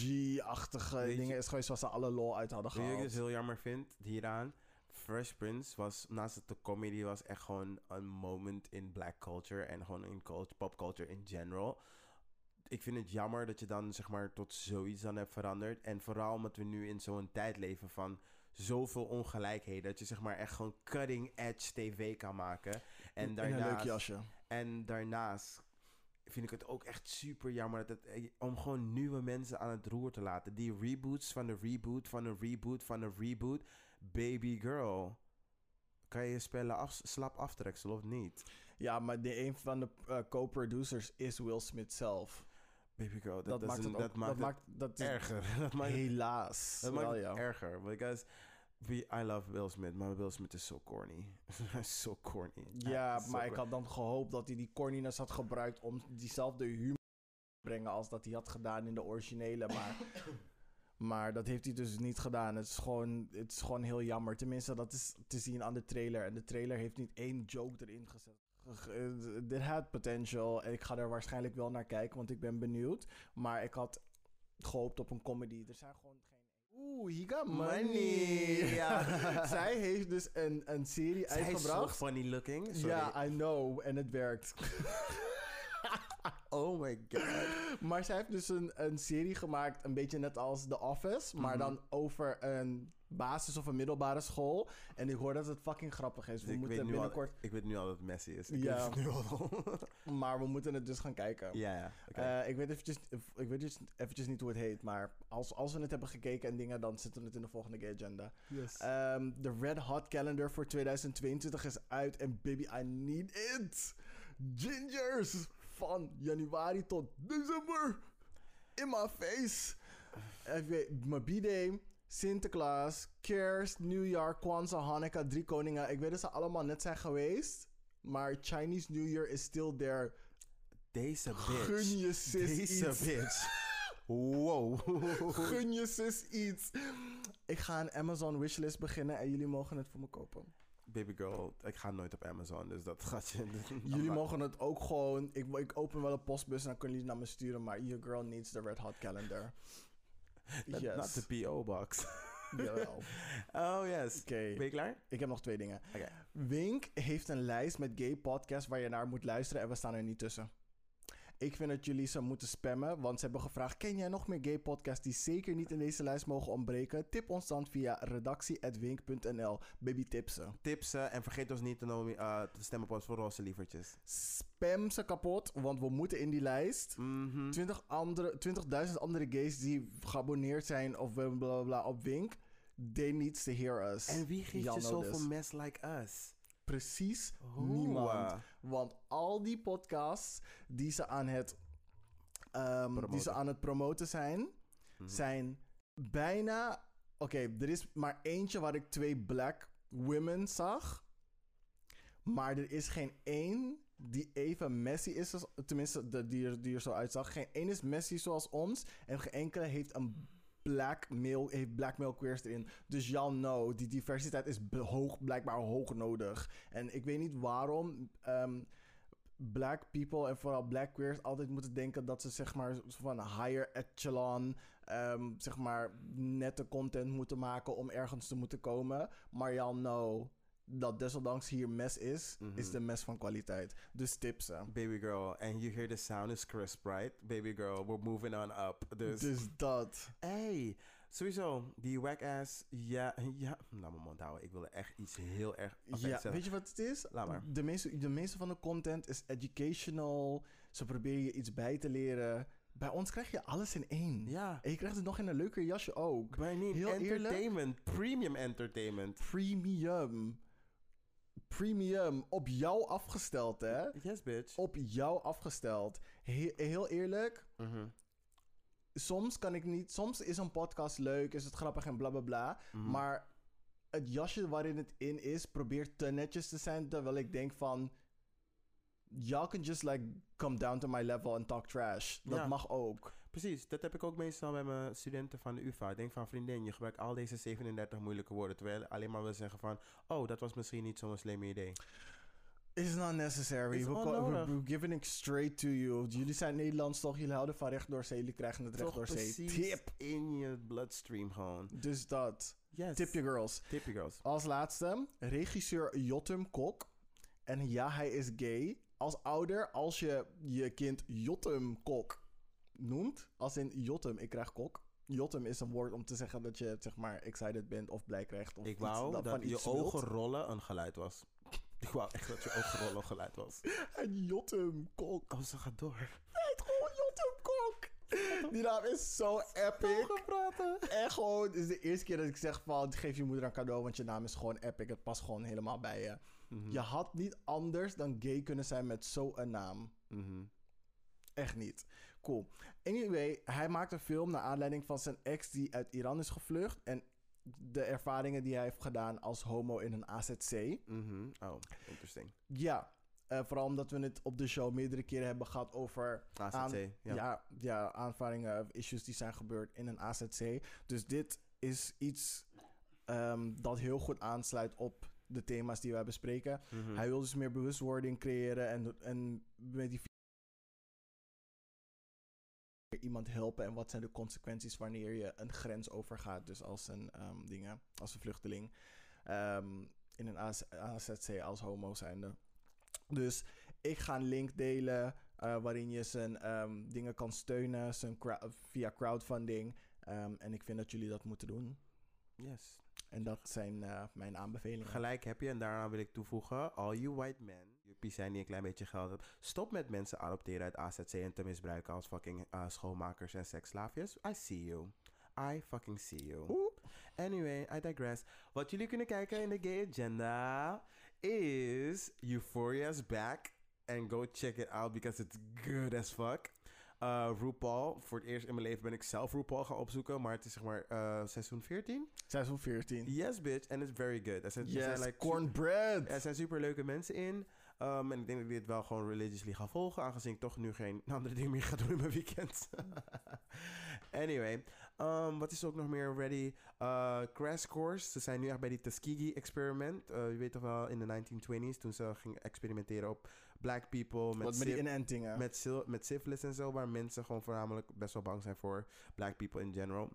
B: edgy-achtige
A: Weet je-
B: dingen. Is geweest zoals ze alle lol uit hadden
A: Wat ik dus
B: gehaald.
A: heel jammer vind hieraan. Fresh Prince was, naast het de comedy, was echt gewoon een moment in black culture en gewoon in cult- pop culture in general. Ik vind het jammer dat je dan zeg maar tot zoiets dan hebt veranderd. En vooral omdat we nu in zo'n tijd leven van zoveel ongelijkheden. Dat je zeg maar echt gewoon cutting edge tv kan maken.
B: in
A: En
B: een leuk
A: daarnaast
B: jasje.
A: En daarnaast vind ik het ook echt super jammer dat het, eh, om gewoon nieuwe mensen aan het roer te laten. Die reboots van de reboot, van de reboot, van de reboot. Baby girl. Kan je spellen af, slap aftreksel of niet?
B: Ja, maar de, een van de eh, co-producers is Will Smith zelf.
A: Baby girl,
B: Dat,
A: dat,
B: maakt het
A: doesn't-
B: ook,
A: dat maakt het
B: dat is
A: erger. Dat maakt het
B: helaas.
A: Dat
B: wel,
A: maakt het
B: ja.
A: erger. Because we, I love Will Smith, maar Will Smith is zo corny. Hij is zo corny.
B: Ja,
A: Hij is zo
B: maar ik
A: corny.
B: had dan gehoopt dat hij die corniness had gebruikt om diezelfde humor te brengen als dat hij had gedaan in de originele. Maar, maar dat heeft hij dus niet gedaan. Het is, gewoon, het is gewoon heel jammer. Tenminste, dat is te zien aan de trailer. En de trailer heeft niet één joke erin gezet. Eh, Dit had potential. En ik ga er waarschijnlijk wel naar kijken, want ik ben benieuwd. Maar ik had gehoopt op een comedy. Er zijn gewoon geen... Oeh, he got money.
A: Money, ja.
B: Zij heeft dus een, een serie
A: Hij is zo
B: uitgebracht.
A: funny looking. Sorry.
B: Ja, I know. En het werkt.
A: Oh my god.
B: maar zij heeft dus een, een serie gemaakt, een beetje net als The Office. Maar
A: Mhm.
B: dan over een basis- of een middelbare school. En ik hoor dat het fucking grappig is. We
A: ik, weet
B: moeten
A: nu al,
B: binnenkort...
A: ik weet nu al dat het Messi is. Ik
B: Ja.
A: weet het nu al.
B: Maar we moeten het dus gaan kijken.
A: ja, ja. oké.
B: Eh, ik weet, eventjes, ik weet dus eventjes niet hoe het heet, maar als, als we het hebben gekeken en dingen, dan zitten we het in de volgende Gay agenda. Ehm, de Red Hot Calendar voor 2022 is uit en baby, I need it! Gingers! Van januari tot december! In my face! Even mijn b-day, Sinterklaas, Kerst, Nieuwjaar, Kwanzaa, Hanukkah, Drie Koningen. Ik weet dat ze allemaal net zijn geweest, maar Chinese New Year is still there.
A: Deze bitch.
B: Gun je sis
A: Deze
B: iets.
A: bitch. Wow.
B: Gun je sis iets. Ik ga een Amazon wishlist beginnen en jullie mogen het voor me kopen.
A: Baby girl, ik ga nooit op Amazon, dus dat gaat je...
B: Jullie mogen het ook gewoon. Ik, ik open wel een postbus en dan kunnen jullie het naar me sturen. Maar your girl needs the red hot calendar.
A: Not,
B: yes.
A: not the PO box.
B: Jawel. Oké.
A: Oh yes. Ben je klaar?
B: Ik heb nog twee dingen.
A: Oké.
B: Wink heeft een lijst met gay podcasts waar je naar moet luisteren en we staan er niet tussen. Ik vind dat jullie ze moeten spammen, want ze hebben gevraagd: ken jij nog meer gay podcasts die zeker niet in deze lijst mogen ontbreken? Tip ons dan via redactie@wink.nl. Baby tipsen.
A: Tipsen eh, en vergeet ons niet te, nomi- eh, te stemmen op ons voor roze lievertjes.
B: Spam ze kapot, want we moeten in die lijst.
A: Mhm.
B: 20.000 andere, 20.000 andere gays die geabonneerd zijn of bla bla bla, bla op Wink. They needs to hear us.
A: En wie geeft je
B: Janno
A: zoveel
B: dus.
A: mess like us?
B: Precies
A: Hoe,
B: niemand.
A: eh?
B: Want al die podcasts die ze aan het, ehm, die ze
A: Promoten.
B: aan het promoten zijn, zijn bijna. Oké, er is maar eentje waar ik twee black women zag. Maar er is geen één die even Messi is, als- tenminste de, die, er, die er zo uitzag. Geen één is Messi zoals ons en geen enkele heeft een blackmail, heeft blackmail queers erin. Dus y'all know, die diversiteit is be- hoog, blijkbaar hoog nodig. En ik weet niet waarom ehm, black people en vooral black queers altijd moeten denken dat ze zeg maar zo van higher echelon ehm, zeg maar nette content moeten maken om ergens te moeten komen. Maar y'all know dat desondanks hier mes is,
A: Mhm.
B: is de mes van kwaliteit. Dus tipsen.
A: Baby girl, and you hear the sound is crisp, right? Baby girl, we're moving on up. Dus,
B: Dus dat.
A: hey, sowieso, die whack-ass, ja, ja, laat mijn mond houden. Ik wil er echt iets heel erg
B: Ja,
A: zeggen.
B: weet je wat het is?
A: Laat maar.
B: De meeste, de meeste van de content is educational. Ze proberen je iets bij te leren. Bij ons krijg je alles in één.
A: Ja,
B: En je krijgt het nog in een leuker jasje ook.
A: maar niet
B: heel eerlijk-
A: entertainment, premium entertainment.
B: Premium. Premium. Op jou afgesteld, hè?
A: Yes, bitch.
B: Op jou afgesteld. He- heel eerlijk.
A: Mhm.
B: soms kan ik niet. Soms is een podcast leuk, is het grappig en bla bla bla.
A: Mhm.
B: Maar het jasje waarin het in is, probeert te netjes te zijn. Terwijl ik denk van. Y'all can just like come down to my level and talk trash. Dat
A: Ja.
B: mag ook.
A: Precies, dat heb ik ook meestal bij mijn studenten van de UvA. Ik denk van, vriendin, je gebruikt al deze 37 moeilijke woorden... terwijl je alleen maar wil zeggen van... oh, dat was misschien niet zo'n slim idee.
B: It's not necessary.
A: Is
B: we, ko- we-
A: onnodig.
B: we're giving it straight to you. Jullie zijn Nederlands toch? Jullie houden van recht door zee. Jullie krijgen het recht
A: Toch
B: door zee.
A: precies
B: Tip.
A: in je bloodstream gewoon.
B: Dus dat.
A: Yes.
B: Tip je girls.
A: Tip je girls.
B: Als laatste, regisseur Jotum Kok. En ja, hij is gay. Als ouder, als je je kind Jotum Kok noemt, als in Jotum, ik krijg kok. Jotum is een woord om te zeggen dat je zeg maar excited bent of blij krijgt. Of
A: Ik
B: iets
A: wou dat,
B: van
A: je
B: iets wilt.
A: ogen rollen een geluid was. Ik wou echt dat je ogen rollen een geluid was.
B: En Jotum Kok.
A: Oh, ze gaat door.
B: Het is gewoon Jotum Kok. Die naam is zo epic.
A: praten.
B: En gewoon, het is de eerste keer dat ik zeg van, geef je moeder een cadeau, want je naam is gewoon epic. Het past gewoon helemaal bij je. Je had niet anders dan gay kunnen zijn met zo'n naam.
A: Mhm,
B: Echt niet. Cool. Anyway, hij maakt een film naar aanleiding van zijn ex die uit Iran is gevlucht. En de ervaringen die hij heeft gedaan als homo in een AZC.
A: Oh, interesting.
B: Ja, eh, vooral omdat we het op de show meerdere keren hebben gehad over...
A: AZC, ja.
B: ja. Ja, aanvaringen, issues die zijn gebeurd in een AZC. Dus dit is iets ehm, dat heel goed aansluit op de thema's die wij bespreken.
A: Mhm. Hm.
B: Hij wil dus meer bewustwording creëren en, en met die iemand helpen en wat zijn de consequenties wanneer je een grens overgaat. Dus als een, ehm, dingen, als een vluchteling ehm, in een AZ AZC als homo zijnde. Dus ik ga een link delen eh, waarin je zijn ehm, dingen kan steunen zijn crowd- via crowdfunding. Ehm, en ik vind dat jullie dat moeten doen.
A: Yes.
B: En dat zijn eh, mijn aanbevelingen.
A: Gelijk heb je, en daarna wil ik toevoegen: all you white men, juppies zijn die een klein beetje geld hebben, stop met mensen adopteren uit AZC en te misbruiken als fucking eh, schoonmakers en seksslaafjes. I see you. I fucking see you. Anyway, I digress. Wat jullie kunnen kijken in de gay agenda is Euphoria's back. And go check it out because it's good as fuck. Eh, RuPaul, voor het eerst in mijn leven ben ik zelf RuPaul gaan opzoeken, maar het is zeg maar eh, seizoen 14.
B: Seizoen 14.
A: Yes, bitch. And it's very good. Er zijn, er zijn,
B: Yes,
A: like,
B: cornbread.
A: er zijn super leuke mensen in. Um, en ik denk dat ik dit wel gewoon religiously ga volgen. Aangezien ik toch nu geen andere dingen meer ga doen in mijn weekend. anyway. um, wat is er ook nog meer ready? Eh, crash Course. Ze zijn nu echt bij die Tuskegee experiment. Eh, je weet toch wel in de 1920s. Toen ze gingen experimenteren op black people. Met
B: Wat met die
A: syf-
B: inentingen.
A: met, syl- met syphilis en zo. Waar mensen gewoon voornamelijk best wel bang zijn voor black people in general.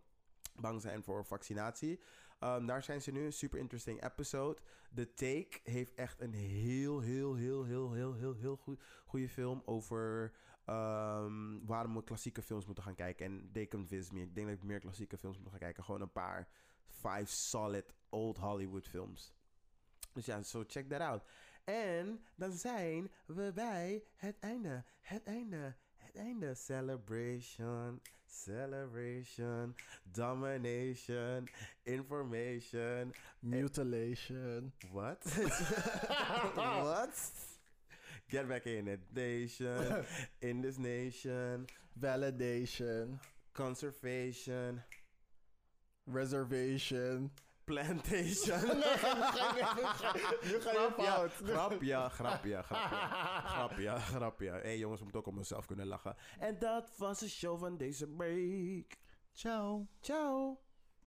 A: Bang zijn voor vaccinatie. Um, daar zijn ze nu. Super interesting episode. The Take heeft echt een heel, heel, heel, heel, heel, heel, heel goed, goede film over ehm, waarom we klassieke films moeten gaan kijken. En they convince me. Ik denk dat ik meer klassieke films moet gaan kijken. Gewoon een paar five solid old Hollywood films. Dus ja, so check that out. En dan zijn we bij het einde. Het einde. Het einde. Celebration. Celebration. Domination. Information.
B: eh. Mutilation.
A: What? What? Get back in it. Nation. In this nation.
B: Validation.
A: Conservation.
B: Reservation.
A: Plantation.
B: Nee, nu ga ik weer- nu ga- nu ga je
A: Grapje,
B: fout.
A: grapje, grapje, grapje. Grapje, grapje. Hé hey, jongens, ik moet ook om mezelf kunnen lachen. En dat was de show van deze week.
B: Ciao.
A: Ciao.